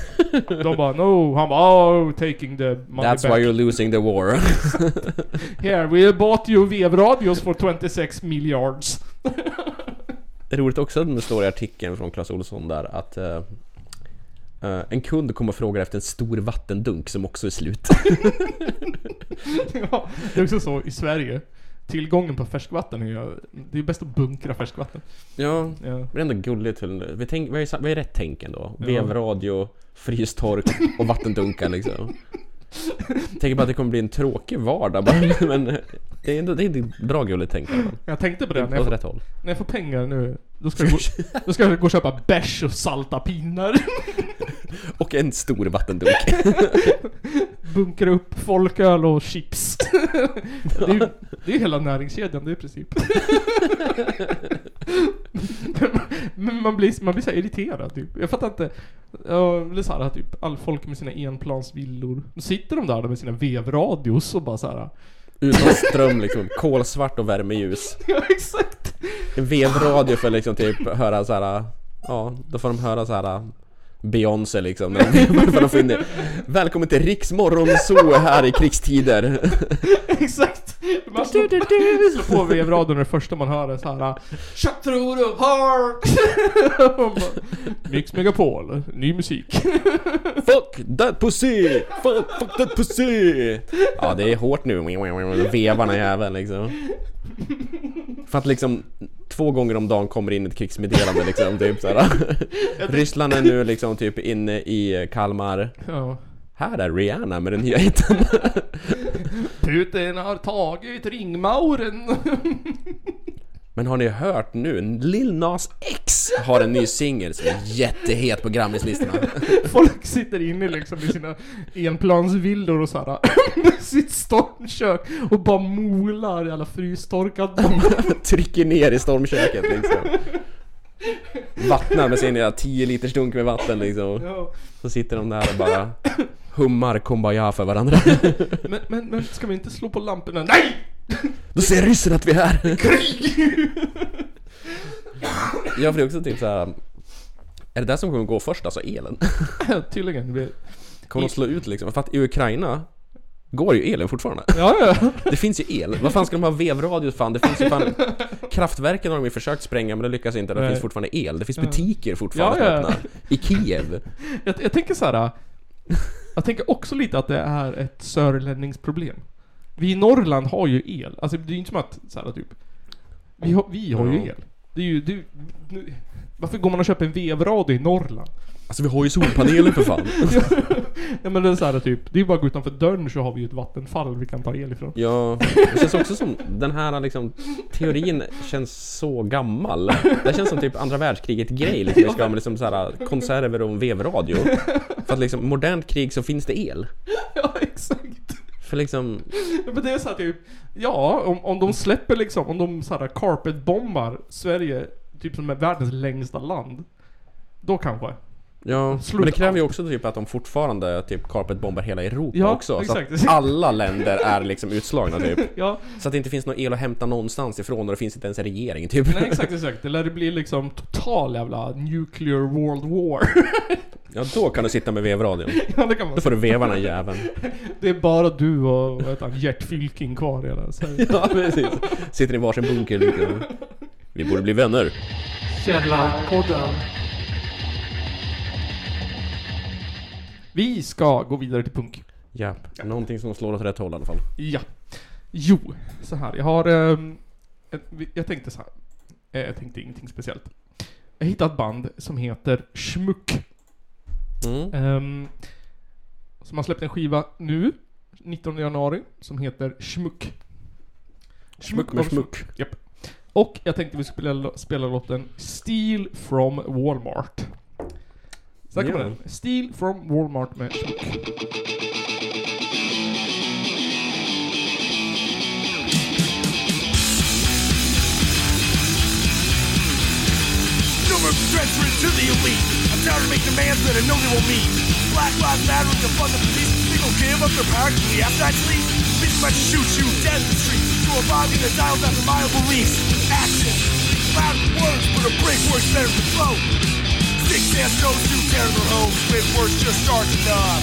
S1: de bara no. Han bara oh, taking the money
S4: That's
S1: back.
S4: why you're losing the war.
S1: Here, we bought you vevradios for 26 miljards.
S4: Det är roligt också att det står i artikeln från Clas Olsson där att eh, eh, en kund kommer och frågar efter en stor vattendunk som också är slut.
S1: ja, det är också så i Sverige. Tillgången på färskvatten är ju... Det är bäst att bunkra färskvatten.
S4: Ja,
S1: <laughs> Ja.
S4: men det är ändå gulligt. hur- Vi, tänk, vi, har ju, sa- vi har ju rätt tänk ändå.
S1: Ja.
S4: Vevradio, frystork och vattendunkar liksom. Tänker bara att det kommer bli en tråkig vardag bara, <laughs> men det är ändå det är ett bra gulligt tänk i alla fall.
S1: Jag tänkte på det.
S4: Åt
S1: När jag,
S4: rätt
S1: får,
S4: håll.
S1: när jag får pengar nu, då ska jag gå, då ska jag gå och köpa bärs och salta pinnar.
S4: Och en stor vattendunk.
S1: <laughs> bunkra upp folköl och chips. <laughs> det, är ju, det är ju hela näringskedjan det är i princip. <laughs> Men man blir, man blir så här irriterad typ. Jag fattar inte. Ja, Eller så här, typ, all folk med sina enplansvillor. Då sitter de där med sina vevradios och bara så här.
S4: Utan ström liksom, kolsvart och värmeljus.
S1: <laughs> Ja, exakt.
S4: En vevradio för liksom typ höra så här. Ja, då får de höra så här. Beyoncé liksom. när de- <laughs> för de får in det. Välkommen till Riks morgonzoo här i krigstider.
S1: Exakt! Man slår, <laughs> slår på vevradion och det första man hör är såhär Tjack tror du <laughs> har! Och bara, Mix Megapol, ny musik.
S4: Fuck that pussy! Fuck, fuck that pussy! Ja, det är hårt nu. Vevarna jävel liksom. För att liksom två gånger om dagen kommer in ett krigsmeddelande liksom. Typ såhär. Ryssland är nu liksom typ inne i Kalmar.
S1: Ja.
S4: Här är Rihanna med den nya hiten.
S1: Putin har tagit ringmauren. <laughs>
S4: Men har ni hört nu? Lil Nas X har en ny singel som är jättehet på Grammislistorna.
S1: Folk sitter inne liksom i sina enplansvillor och såhär <laughs> sitt stormkök och bara molar i alla frystorkad
S4: Trycker ner i stormköket liksom. Vattnar med sin lilla 10 liters dunk med vatten liksom.
S1: <laughs> Ja.
S4: Så sitter de där och bara hummar kumbaya för varandra.
S1: men, men, men ska vi inte slå på lamporna? Nej! <laughs>
S4: Då ser ryssen att vi är här!
S1: Krig!
S4: Ja för det är också typ såhär... Är det där som kommer gå först alltså? Elen?
S1: Tydligen. det blir-
S4: Kommer de slå ut liksom? För att i Ukraina går ju elen fortfarande.
S1: Ja, ja.
S4: Det finns ju el. Vad fan ska de ha vevradio fan? Det finns ju fan... Kraftverken har de ju försökt spränga men det lyckas inte. Det
S1: Nej.
S4: finns fortfarande el. Det finns
S1: Ja.
S4: butiker fortfarande
S1: Ja, ja.
S4: som öppnar. I Kiev.
S1: Jag, jag tänker så här. äh, Jag tänker också lite att det är ett sörlänningsproblem. Vi i Norrland har ju el. Alltså det är ju inte som att så här, typ. Vi har, vi har ju
S4: Ja.
S1: el. Det är ju du, nu, Varför går man och köper en vevradio i Norrland?
S4: Alltså vi har ju solpaneler för
S1: <laughs>
S4: fan.
S1: Ja men det är så här, typ. Det är bara att gå utanför dörren så har vi ju ett vattenfall vi kan ta el ifrån.
S4: Ja, det känns också som den här liksom, teorin känns så gammal. Det känns som typ andra världskriget-grej. Liksom, vi ska ha med liksom, så här, konserver och en vevradio. För att liksom, modernt krig så finns det el.
S1: <laughs> Ja exakt.
S4: För liksom,
S1: Ja, Men det är så här, typ. Ja om, om de släpper liksom. Om de så här carpetbombar Sverige. Typ som är världens längsta land. Då kanske.
S4: ja.
S1: Slå
S4: Men det
S1: ut
S4: kräver ju också typ att de fortfarande typ carpetbombar hela Europa
S1: Ja,
S4: också. Så
S1: exakt.
S4: att alla länder är liksom utslagna typ.
S1: Ja.
S4: Så att det inte finns någon el att hämta någonstans ifrån och det finns inte ens en regering typ.
S1: Nej exakt, exakt. Eller det blir liksom total jävla nuclear world war. <laughs>
S4: Ja, då kan du sitta med vevradion.
S1: Ja, det kan man
S4: Då får du
S1: säga.
S4: veva den här jäveln.
S1: Det är bara du och vad heter han, Gert Fylking kvar i hela Sverige.
S4: Ja, precis. Sitter i varsin bunker liksom. Vi borde bli vänner.
S1: Källarpodden. Vi ska gå vidare till punk.
S4: Ja, någonting som slår åt rätt håll i alla fall.
S1: Ja. Jo, så här. Jag har... ehm, ett- vi- jag tänkte så här. Eh, Jag tänkte ingenting speciellt. Jag hittade ett band som heter Schmuck.
S4: Mm.
S1: Ehm, som har släppt en skiva nu, 19 januari, som heter Schmuck.
S4: Schmuck med
S1: och-
S4: schmuck.
S1: Japp. Och jag tänkte vi skulle spela, spela låten Steal from Walmart. Så här kommer
S4: Ja.
S1: den. Steal from Walmart med Schmuck.
S13: No more threats written to the elite. I'm down to make demands that I know they will meet. Black lives matter with the fund of police. They gon' give up their power to the outside police. Bitch might shoot you dead in the street. To abide in the dials after my own beliefs. Action. Loud with words, but a break works better than flow. Six ass goes to tear their homes. With words just starting up.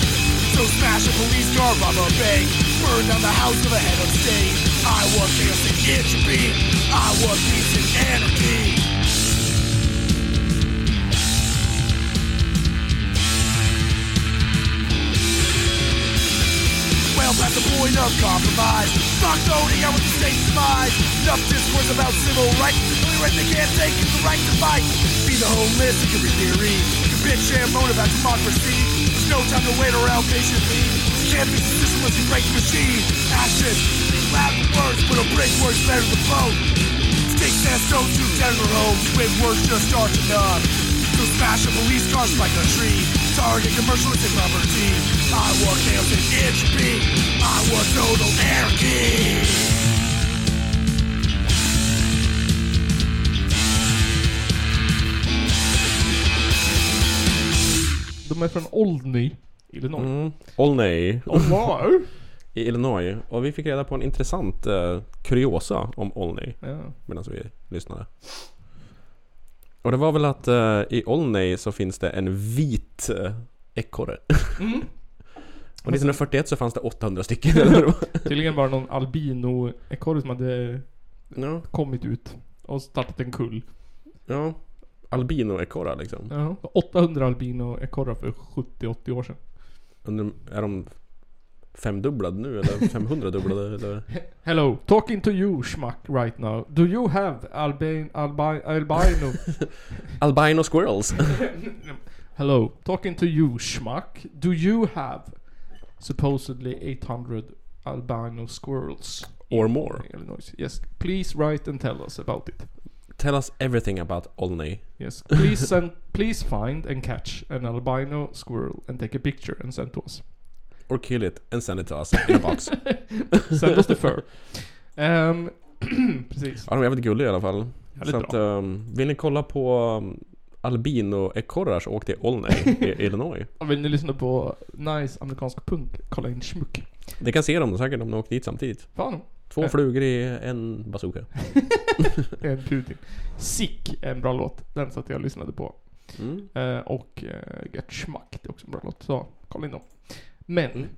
S13: So smash a police car, rob a bank. Burn down the house of a head of state. I was innocent, it should be. I was peace and anarchy. Well past the point of compromise Fuck voting out with the state's demise Enough discourse about civil rights The only right they can't take is the right to fight Be the homeless, it can be theory You can bitch and moan about democracy There's no time to wait around patiently You can't fix the system unless you break the machine Action, loud words But a break words better than vote Stakes and stones to general homes When words just aren't enough So smash a police car, spike a tree Target commercialistic property I want chaos and can't you be? I was total anarchy.
S1: De är från Olney, Illinois.
S4: Mm. Olney.
S1: Olney.
S4: I Illinois. Och vi fick reda på en intressant eh, kuriosa om Olney.
S1: Ja.
S4: Medan vi lyssnade. Och det var väl att eh, i Olney så finns det en vit eh, ekorre.
S1: Mm.
S4: <laughs> Och 1941 så fanns det 800 stycken. Eller vad det var.
S1: Tydligen var det någon albino-ekorre som hade kommit ut och startat en kull.
S4: Ja. Albino-ekorrar liksom.
S1: Ja. 800 albino-ekorrar för 70-80 år sedan.
S4: Undrar, är de femdubblade nu eller 500 dubblade? Eller?
S1: Hello, talking to you schmuck right now. Do you have albin, albi, albino?
S4: Albino squirrels.
S1: <laughs>
S4: <laughs>
S1: Hello, talking to you schmuck. Do you have supposedly 800 albino squirrels?
S4: Or more.
S1: Illinois? Yes, please write and tell us about it.
S4: Tell us everything about Olney.
S1: Yes, <laughs> please send, please find and catch an albino squirrel and take a picture and send to us.
S4: Or kill it and send it to us in a box.
S1: Send us the <laughs> fur. Ehm, <clears throat> precis.
S4: Ja, de är jävligt gulliga i alla fall.
S1: Jävligt
S4: så att, um, vill ni kolla på um, albino-ekorrar så åk till Olney i Illinois.
S1: Om vill ni lyssna på nice amerikansk punk, kolla in Schmuck.
S4: Ni kan se dem säkert om ni åker dit samtidigt.
S1: Fan.
S4: Två
S1: Ja.
S4: flugor i en bazooka.
S1: en Eh, Putin. Sick är en bra låt. Den satt jag och lyssnade på.
S4: Mm.
S1: Eh, och eh, Get Schmack, det är också en bra låt. Så kolla in dem. Men.
S4: Mm.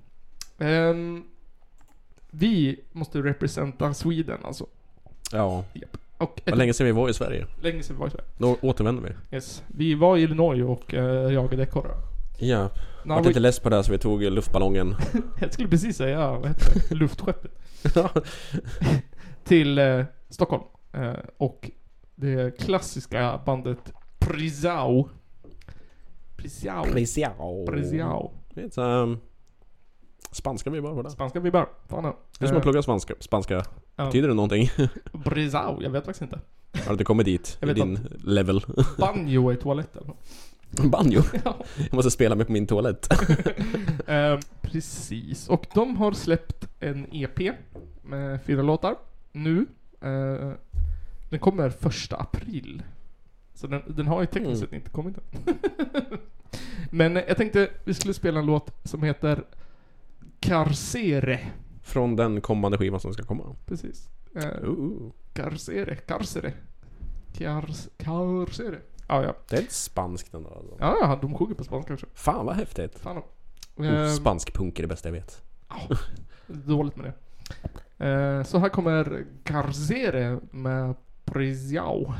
S1: ehm, vi måste representera Sweden alltså.
S4: Ja.
S1: Och-
S4: Vad länge sedan vi var i Sverige.
S1: Länge sedan vi var i Sverige.
S4: Då återvänder vi.
S1: Yes. Vi var i Illinois och eh, jagade ekorrar.
S4: Ja.
S1: Now
S4: Vart
S1: we-
S4: lite less på det här så vi tog luftballongen.
S1: Jag skulle precis säga, vad heter det?
S4: <laughs>
S1: Luftskeppet. Till eh, Stockholm. Eh, och det klassiska bandet Prisao. Prisao.
S4: Preciao.
S1: Preciao.
S4: Det är ett, um, spanska vibbar på det.
S1: Mm. Spanska vibbar. Fan ja. Eh,
S4: Det är som att plugga spanska. spanska.
S1: Ja.
S4: Betyder det någonting? <laughs>
S1: Prisao, jag vet faktiskt inte.
S4: Har du inte kommit dit?
S1: Jag
S4: I
S1: vet
S4: din level? <laughs>
S1: Banjo i toaletten.
S4: Banjo?
S1: <laughs> Ja.
S4: Jag måste spela mig på min toalett.
S1: Eh, precis. Och de har släppt en EP med fyra låtar nu. Eh, den kommer första april. Så den, den har ju
S4: Mm.
S1: tekniskt sett inte kommit än. <laughs> Men eh, jag tänkte vi skulle spela en låt som heter Carcere.
S4: Från den kommande skivan som ska komma.
S1: Precis. Eh, Carcere, Carcere. Cars, carcere. Ja, ja.
S4: Det är inte spanskt ändå alltså.
S1: Ja, ja, de sjunger på spanska också.
S4: Fan vad häftigt.
S1: Fan
S4: Oh,
S1: Ehm.
S4: spansk punk är det bästa jag vet.
S1: Dåligt med det. Eh, Så här kommer Garzere med Prisiao.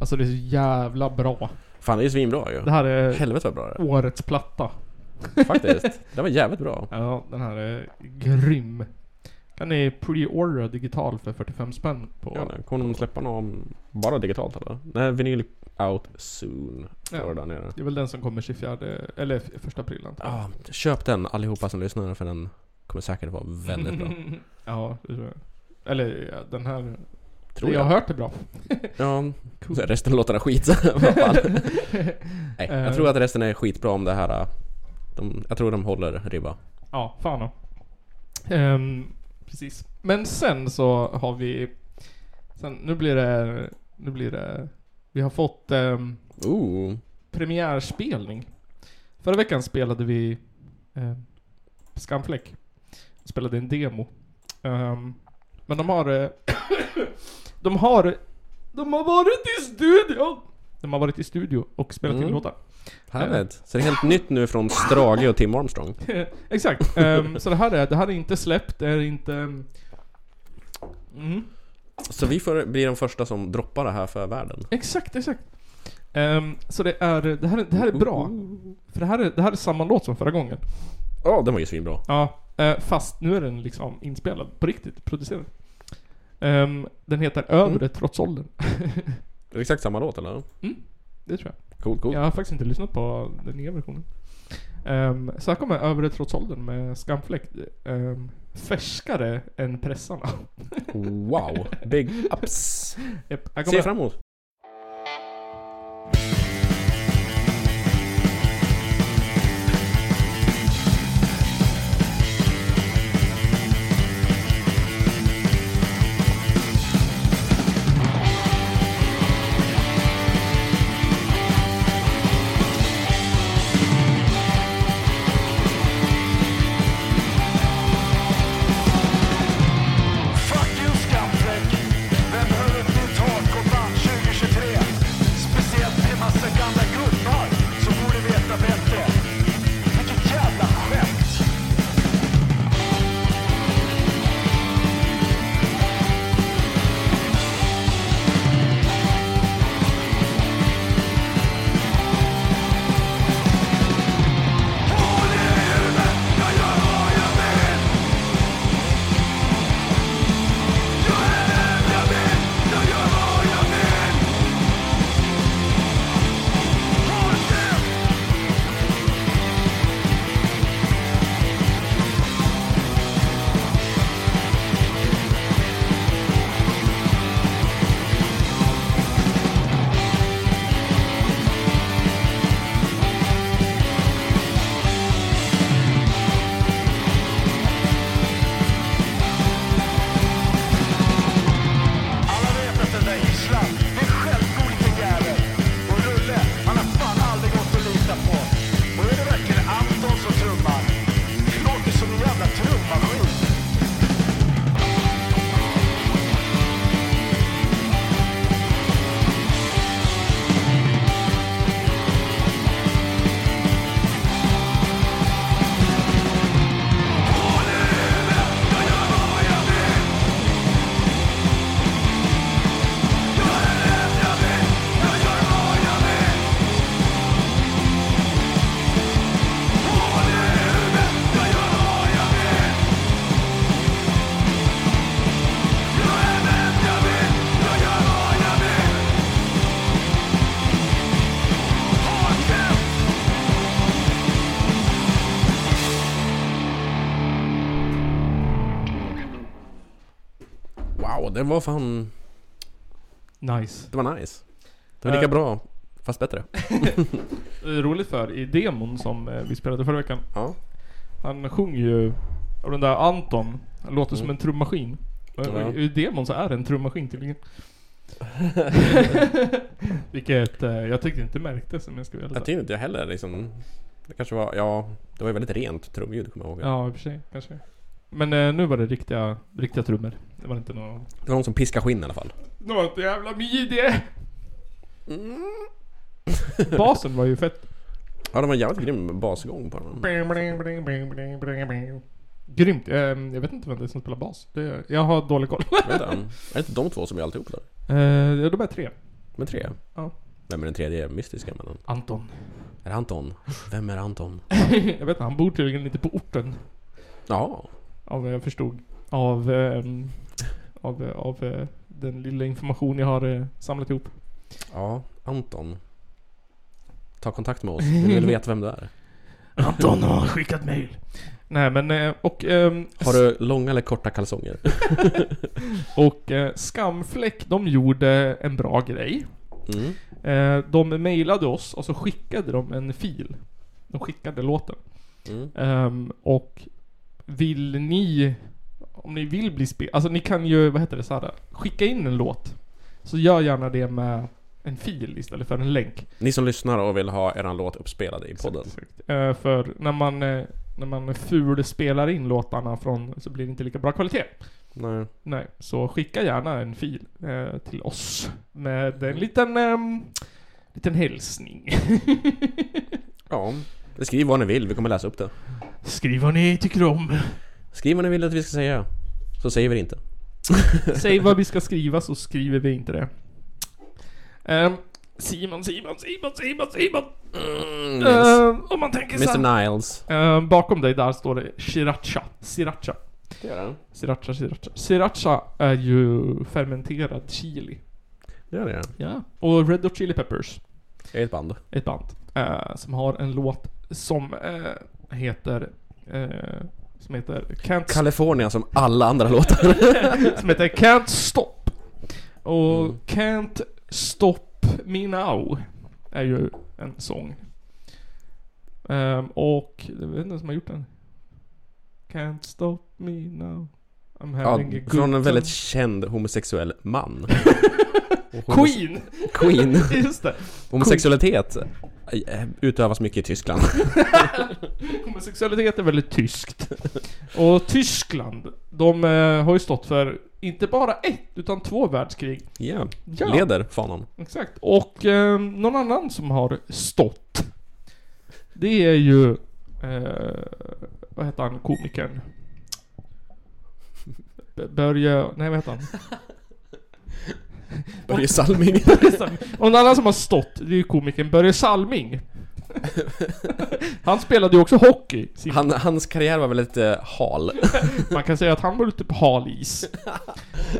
S1: Alltså det är så jävla bra.
S4: Fan det är svinbra ju.
S1: Det här är
S4: Helvete vad bra det
S1: årets platta.
S4: är. Faktiskt. Det var jävligt bra.
S1: Ja, den här är grym. Kan ni pre-order digital för 45 spänn på...
S4: Ja, kommer de släppa någon bara digitalt eller? Nej, vinyl out soon. står det där nere.
S1: Det är väl den som kommer 24, eller f- första april antar jag.
S4: Ja, köp den allihopa som lyssnar för den kommer säkert vara
S1: <laughs>
S4: väldigt bra.
S1: ja, det tror jag. Eller ja, den här.
S4: Tror
S1: jag.
S4: jag.
S1: har hört det bra.
S4: Ja, så resten av låtarna är skit. <laughs> Vad fan. Nej,
S1: Eh.
S4: jag tror att resten är skitbra om det här. eh, De, jag tror de håller ribba.
S1: Ja, fan då. Ehm, Precis. Men sen så har vi... Sen, nu blir det... Nu blir det... Vi har fått ehm, premiärspelning. Förra veckan spelade vi eh, Skamfläck. Spelade en demo. Ehm, men de har... <coughs> eh, de har... De har varit i studion! De har varit i studio och spelat in
S4: Mm.
S1: låtar.
S4: Härligt. Så det är helt nytt nu från Strage och Tim Armstrong.
S1: Eh, <laughs> Exakt. Ehm, så det här är, det här är inte släppt, det är inte... Mm.
S4: Så vi får bli de första som droppar det här för världen.
S1: Exakt, exakt. Ehm, så det är, det här, är- det här är bra. För det här är, det här är samma låt som förra gången.
S4: Ja, den var ju svinbra.
S1: Ja, eh, fast nu är den liksom inspelad på riktigt, producerad. Ehm, den heter Övre trots åldern.
S4: Är det exakt samma låt eller?
S1: Mm, det tror jag.
S4: Cool, cool.
S1: Jag har faktiskt inte lyssnat på den nya versionen. Ehm, så här kommer Övre trots åldern med skamfläck. ehm, färskare än pressarna. <laughs>
S4: Wow, big ups.
S1: Japp, här
S4: Se
S1: kommer-
S4: fram emot.
S13: Fuck you skamfläck Vem hör upp ditt hardcoreband 2023? Speciellt till massa gamla gubbar som borde veta bättre. Vilket jävla skämt! Alla vet att den där gisslan är en självgod liten jävel. Och Rulle, han har fan aldrig gått att lita på. Och är det verkligen Anton som trummar? Det låter som en jävla trummaskin.
S4: Wow, det var fan...
S1: Nice.
S4: Det var nice. Det var lika
S1: Eh.
S4: bra, fast bättre.
S1: Eh, roligt för i demon som eh, vi spelade förra veckan. Han sjunger ju, av den där Anton, han låter som
S4: Mm.
S1: en trummaskin. Och eh,
S4: Ja.
S1: i- I demon så är det en trummaskin <laughs> tydligen. Vilket eh, jag tyckte inte märktes om jag ska vara ärlig.
S4: jag tyckte inte jag heller liksom... Det kanske var, ja... Det var ju väldigt rent trumljud kommer jag ihåg.
S1: Ja, i och för sig. Kanske. Men eh, nu var det riktiga, riktiga trummor. Det var inte någon...
S4: Det var någon som piskade skinn i alla fall.
S1: Något jävla midje! Mm. Basen var ju fett.
S4: Ja, det var en jävligt grym basgång på
S1: <laughs>
S4: den.
S1: Bling, bling, bling, bling, bling, bling, bling. Grymt. Eh, jag vet inte vem det är som spelar bas. Det, jag har dålig koll.
S4: Vänta, är det inte de två som gör alltihop där?
S1: Eh, ja, de är tre.
S4: Men tre?
S1: Ja.
S4: Vem är den tredje mystiska mannen?
S1: Anton.
S4: Är det Anton? Vem är Anton?
S1: <laughs> jag vet inte, han bor tydligen inte på orten.
S4: Ja.
S1: Av vad jag förstod. Av, ehm, av, eh, av eh, den lilla information jag har eh, samlat ihop.
S4: Ja. Anton, ta kontakt med oss. Vi vill veta vem du är.
S1: Anton har skickat mail. Nej men, eh, och... ehm,
S4: Har du långa eller korta kalsonger?
S1: och eh, Skamfläck, de gjorde en bra grej.
S4: Mm.
S1: Eh, de mejlade oss och så skickade de en fil. De skickade låten.
S4: Mm.
S1: Ehm, och vill ni, om ni vill bli spelade, alltså ni kan ju, vad heter det, så här, skicka in en låt. Så gör gärna det med en fil istället för en länk.
S4: Ni som lyssnar och vill ha eran låt uppspelad i podden.
S1: Eh, för när man, eh, när man ful spelar in låtarna från, så blir det inte lika bra kvalitet.
S4: Nej.
S1: Nej, så skicka gärna en fil eh, till oss med en liten, ehm, liten hälsning.
S4: Ja, skriv vad ni vill. Vi kommer läsa upp det.
S1: Skriv vad ni tycker om.
S4: Skriv vad ni vill att vi ska säga. Så säger vi det inte. <laughs>
S1: Säg vad vi ska skriva så skriver vi inte det. Ehm, Simon, Simon, Simon, Simon, Simon!
S4: Nils.
S1: Ehm, om man tänker så
S4: Mr
S1: här-
S4: Mm, Niles.
S1: Ehm, bakom dig där står det Sriracha. Sriracha.
S4: Det gör det.
S1: Sriracha, sriracha. Sriracha är ju fermenterad chili.
S4: Det gör det.
S1: Ja. Och Red Hot Chili Peppers.
S4: Det är ett band.
S1: Ett band. eh, som har en låt som eh, heter... eh, som heter Can't
S4: California som alla andra låtar.
S1: som heter Can't Stop. Och
S4: Mm.
S1: Can't Stop Me Now är ju en sång. Ehm, och jag vet inte vem som har gjort den. Can't Stop Me Now. I'm
S4: Ja,
S1: having a good
S4: från en väldigt
S1: time.
S4: känd homosexuell <laughs> man. Och homose-
S1: Queen! <laughs>
S4: Queen.
S1: Just det.
S4: Homosexualitet eh, utövas mycket i Tyskland.
S1: Homosexualitet är väldigt tyskt. Och Tyskland, de eh, har ju stått för inte bara ett, utan två världskrig.
S4: Ja,
S1: Ja.
S4: leder fanan.
S1: Exakt. Och eh, någon annan som har stått. Det är ju... Eh, vad heter han, komikern? B- Börje... Nej vad heter han?
S4: Börje Salming.
S1: Börje Salming. Och någon annan som har stått, det är ju komikern Börje Salming. Han spelade ju också hockey. Simon.
S4: <laughs> Han, hans karriär var väl lite hal.
S1: Man kan säga att han var ute på hal is.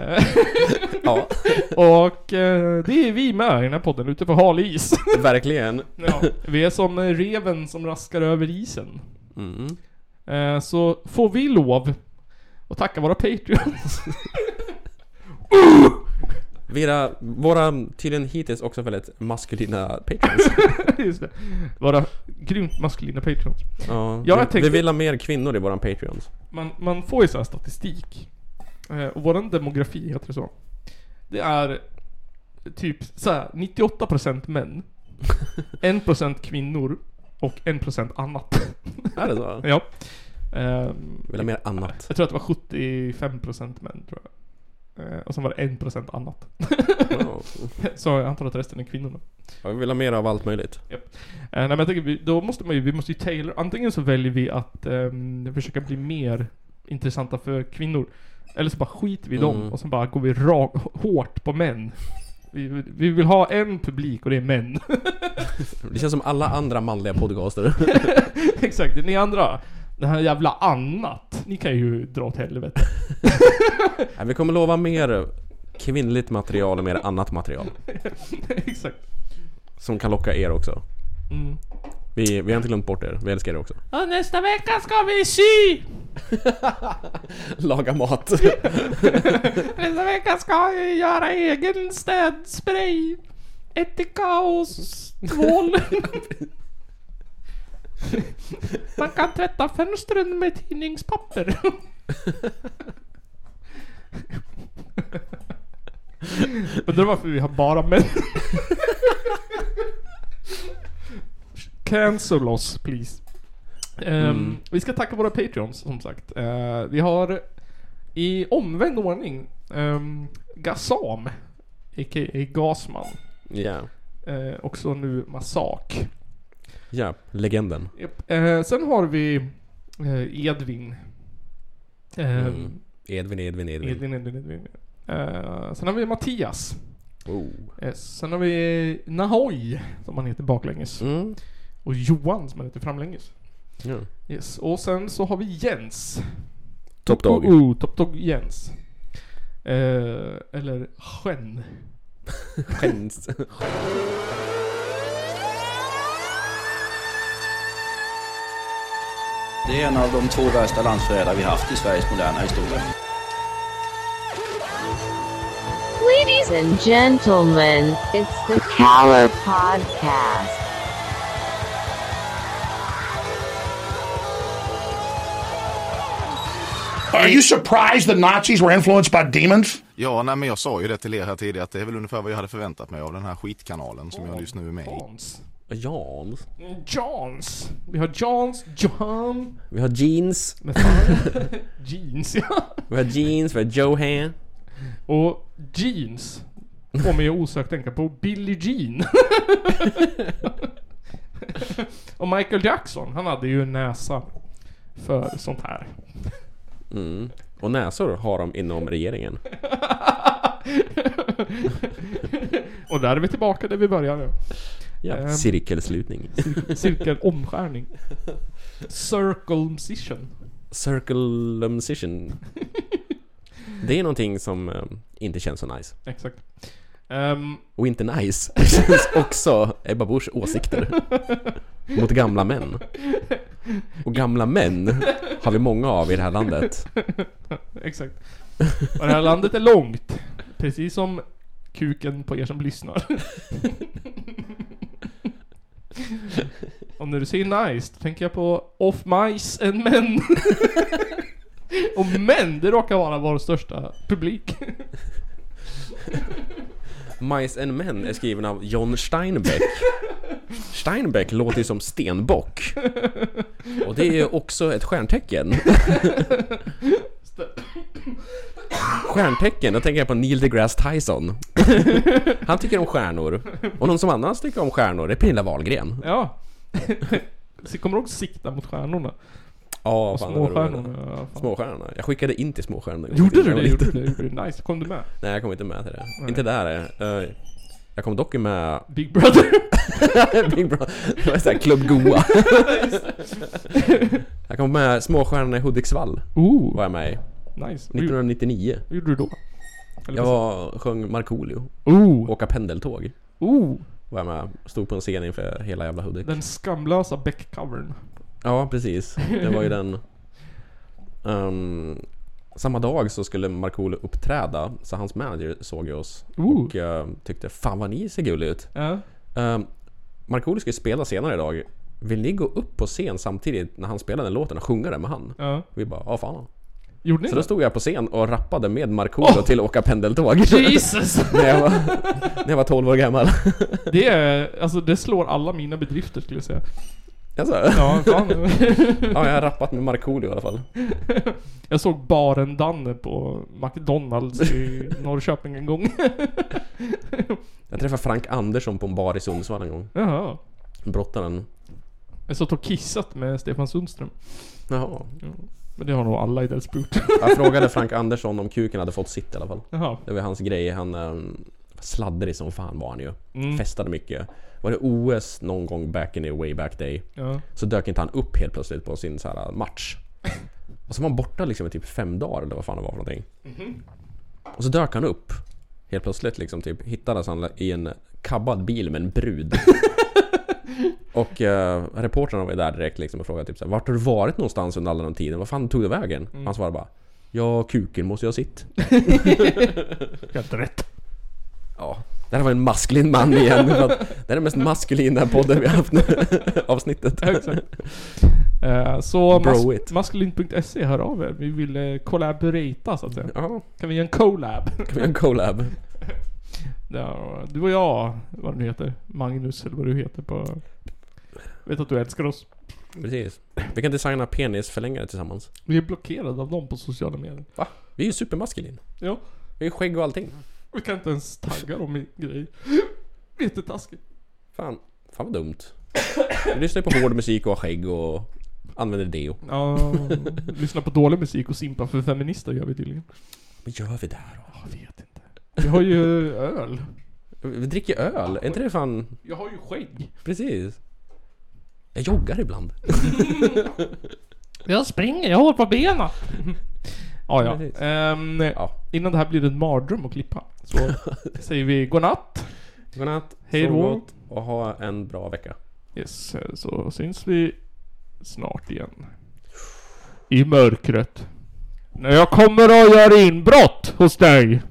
S1: Eh,
S4: <laughs> Ja,
S1: Och eh, det är vi med i den här podden, ute på hal is.
S4: verkligen.
S1: Ja, vi är som eh, reven som raskar över isen.
S4: Mm.
S1: Eh, Så får vi lov att tacka våra
S4: <laughs>
S1: Patreons.
S4: Vira, våra tydligen hittills också väldigt maskulina <laughs> patrons.
S1: Just det. Våra grymt maskulina Patreons.
S4: Ja,
S1: jag
S4: vi,
S1: tänkte-
S4: vi vill ha mer kvinnor i våran Patreons.
S1: Man, man får ju så här statistik. Eh, Och våran demografi heter det så. Det är typ så här 98%
S4: <laughs>
S1: män. 1% kvinnor. Och 1% annat.
S4: Är det <laughs> så?
S1: ja. Ehm,
S4: Vi vill ha mer <laughs> annat.
S1: Jag tror att det var 75% män tror jag. Eh, Och sen var det 1% annat.
S4: Ja.
S1: <laughs> Så jag antar att resten är kvinnor då.
S4: Ja, vi vill ha mer av allt möjligt.
S1: Eh, nej men jag tänker, vi, då måste man ju, vi måste ju tailor, antingen så väljer vi att ehm, försöka bli mer intressanta för kvinnor. Eller så bara skiter vi i dem
S4: Mm.
S1: och sen bara går vi ra, hårt på män. Vi, vi vill ha en publik och det är män. <laughs>
S4: Det känns som alla andra manliga <laughs> podcaster.
S1: Exakt, ni andra. Det här jävla annat. Ni kan ju dra åt helvete. <laughs>
S4: Nej, vi kommer lova mer kvinnligt material och mer annat material.
S1: Exakt.
S4: Som kan locka er också.
S1: Mm.
S4: Vi, vi har inte glömt bort er, vi älskar er också.
S1: Och nästa vecka ska vi sy!
S4: Laga mat.
S1: Nästa vecka ska vi göra egen städspray. Ättika och tvål. Man kan tvätta fönstren med tidningspapper. Undrar varför vi har bara män. Cancel oss, please. Ehm,
S4: Mm.
S1: Vi ska tacka våra Patreons, som sagt. Eh, vi har i omvänd ordning ehm, Gassam, a.k.a. Gasman.
S4: <laughs> Ja,
S1: Eh, också nu Massak.
S4: ja, legenden.
S1: Japp. Eh, sen har vi eh, Edvin. Ehm,
S4: Mm. Edvin, Edvin, Edvin.
S1: Edvin, Edvin, Edvin. Eh, sen har vi Mattias.
S4: Oh.
S1: Yes. Sen har vi Nahoy, som han heter baklänges.
S4: Mm.
S1: Och Johan, som han heter framlänges.
S4: Ja.
S1: Yes. Och sen så har vi Jens.
S4: Top Dog.
S1: Oh, oh, Top Dog Jens. Eh, eller Chen.
S4: Skäms.
S14: Det är en av de två värsta landsförrädare vi haft i Sveriges moderna historia.
S15: Ladies and gentlemen, it's the Caller Podcast.
S16: Are you surprised the Nazis were influenced by demons?
S17: Ja, nej, men jag sa ju det till er här tidigare att det är väl ungefär vad jag hade förväntat mig av den här skitkanalen som jag just nu är med i.
S4: Jans.
S1: Johns. Vi har Johns, John.
S4: Vi har jeans.
S1: Jeans, <laughs> ja.
S4: Vi har jeans, vi har Johan.
S1: Och jeans. Får mig osökt tänka på Billie Jean. Och Michael Jackson, han hade ju en näsa för sånt här.
S4: Mm. Och näsor har de inom regeringen.
S1: Och där är vi tillbaka där vi började.
S4: Ja,
S1: Ehm,
S4: cirkelslutning.
S1: cir- cirkelomskärning. Circumcision.
S4: Circumcision. Det är någonting som eh, inte känns så nice.
S1: Exakt. Ehm,
S4: Och inte nice <laughs> känns också Ebba Buschs åsikter. Mot gamla män. Och gamla män har vi många av i det här landet.
S1: Exakt. Och det här landet är långt. Precis som kuken på er som lyssnar. Och när du säger nice, då tänker jag på off mice and men. Och men, det råkar vara vår största publik.
S4: Mice and Men är skriven av John Steinbeck. Steinbeck låter ju som stenbock. Och det är ju också ett stjärntecken. Stjärntecken, då tänker jag på Neil deGrasse Tyson. Han tycker om stjärnor. Och någon som annars tycker om stjärnor är Pernilla Wahlgren.
S1: Ja. Så kommer du ihåg sikta mot stjärnorna?
S4: Ja,
S1: Och
S4: fan vad roligt.
S1: småstjärnorna, ja, fan.
S4: Småstjärnorna. Jag skickade in till Småstjärnorna.
S1: Gjorde du
S4: Jag var
S1: det? Gjorde du
S4: liten.
S1: det? Gjorde du det? Nice, kom du med?
S4: Nej, jag kom inte med till det.
S1: Nej.
S4: Inte där. eh, Jag kom dock med... <laughs>
S1: Big Brother.
S4: Big Brother. Det var såhär
S1: <laughs>
S4: Club Goa. jag kom med Småstjärnorna i Hudiksvall.
S1: Ooh.
S4: Var jag med i.
S1: Nice.
S4: 1999.
S1: Vad gjorde du då? Eller
S4: Jag
S1: vad-
S4: var, sjöng Markoolio.
S1: Ooh.
S4: Åka pendeltåg.
S1: Ooh.
S4: Var jag med. Stod på en scen inför hela jävla Hudik.
S1: Den skamlösa Beck-covern.
S4: Ja, precis. Det var ju den... Ehm, samma dag så skulle Markoolio uppträda, så hans manager såg ju oss och eh, tyckte Fan vad ni ser gulliga ut.
S1: Ja.
S4: Ehm, Markoolio ska ju spela senare idag. Vill ni gå upp på scen samtidigt när han spelar den låten och sjunga den med han?
S1: Ja.
S4: Vi bara, ja fan.
S1: Gjorde ni
S4: så
S1: det?
S4: då stod jag på scen och rappade med Markoolio till Åka pendeltåg. <laughs>
S1: Jesus!
S4: när, jag var, när jag var 12 år gammal.
S1: Det är, alltså det slår alla mina bedrifter skulle jag säga.
S4: Jaså?
S1: <laughs> Ja, fan.
S4: ja, jag har rappat med Markoolio i alla fall.
S1: Jag såg baren Danne på McDonalds i <laughs> Norrköping en gång.
S4: Jag träffade Frank Andersson på en bar i Sundsvall en gång.
S1: Jaha.
S4: Brottaren.
S1: Jag satt och kissat med Stefan Sundström.
S4: Jaha.
S1: Ja, men det har nog alla i Delsbo gjort. <laughs>
S4: Jag frågade Frank Andersson om kuken hade fått sitt i alla fall.
S1: Jaha.
S4: Det var hans grej. Han um, sladdrig som fan var han ju.
S1: Mm.
S4: Festade mycket. Var det OS någon gång back in the way back day.
S1: Ja.
S4: Så dök inte han upp helt plötsligt på sin så här match. Och så var han borta liksom i typ fem dagar eller vad fan det var för någonting.
S1: Mhm.
S4: Och så dök han upp. Helt plötsligt liksom typ hittades han i en kabbad bil med
S1: <laughs>
S4: en brud. och eh, reportrarna var ju där direkt liksom och frågade typ så här, Vart har du varit någonstans under alla den tiden? Vad fan tog du vägen?
S1: Mm.
S4: Han svarade bara Ja, kuken måste jag ha sitt.
S1: <laughs> Helt rätt.
S4: Ja. Det här var en maskulin
S1: <laughs>
S4: man igen. för att det här är den mest maskulina podden vi har haft nu. Avsnittet.
S1: Exakt.
S4: <laughs>
S1: Eh, Så
S4: Bro
S1: mas-
S4: it.
S1: maskulin.se E, hör av er. Vi vill eh, collaborata så att säga.
S4: Ja.
S1: Kan vi göra en collab?
S4: Kan vi göra en collab?
S1: Ja, du och jag, vad du nu heter. Magnus eller vad du heter på... Vet att du älskar oss.
S4: Precis. Vi kan designa penisförlängare tillsammans.
S1: Vi är blockerade av dem på sociala medier.
S4: Va? Vi är ju supermaskulin.
S1: Ja.
S4: Vi är skägg och allting.
S1: Vi kan inte ens tagga dem i grejer. Jättetaskigt.
S4: Fan, fan vad dumt. Vi lyssnar ju på hård musik och har skägg och använder deo.
S1: Ja, <laughs> lyssna på dålig musik och simpa för feminister gör vi tydligen.
S4: Vad gör vi där då?
S1: Jag vet inte. Vi har ju öl.
S4: Vi dricker öl. Är inte det fan...
S1: Jag har ju skägg.
S4: Precis. Jag joggar ibland.
S1: Jag springer, jag håller på benen. Ja, ja.
S4: Precis.
S1: Ehm, Innan det här blir en mardröm att klippa. <laughs> Så säger vi godnatt.
S4: Godnatt.
S1: Hej då.
S4: sov gott Och ha en bra vecka.
S1: Yes, så syns vi snart igen. I mörkret. När jag kommer och gör inbrott hos dig.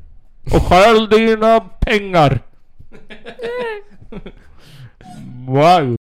S1: Och stjäl dina pengar. Wow.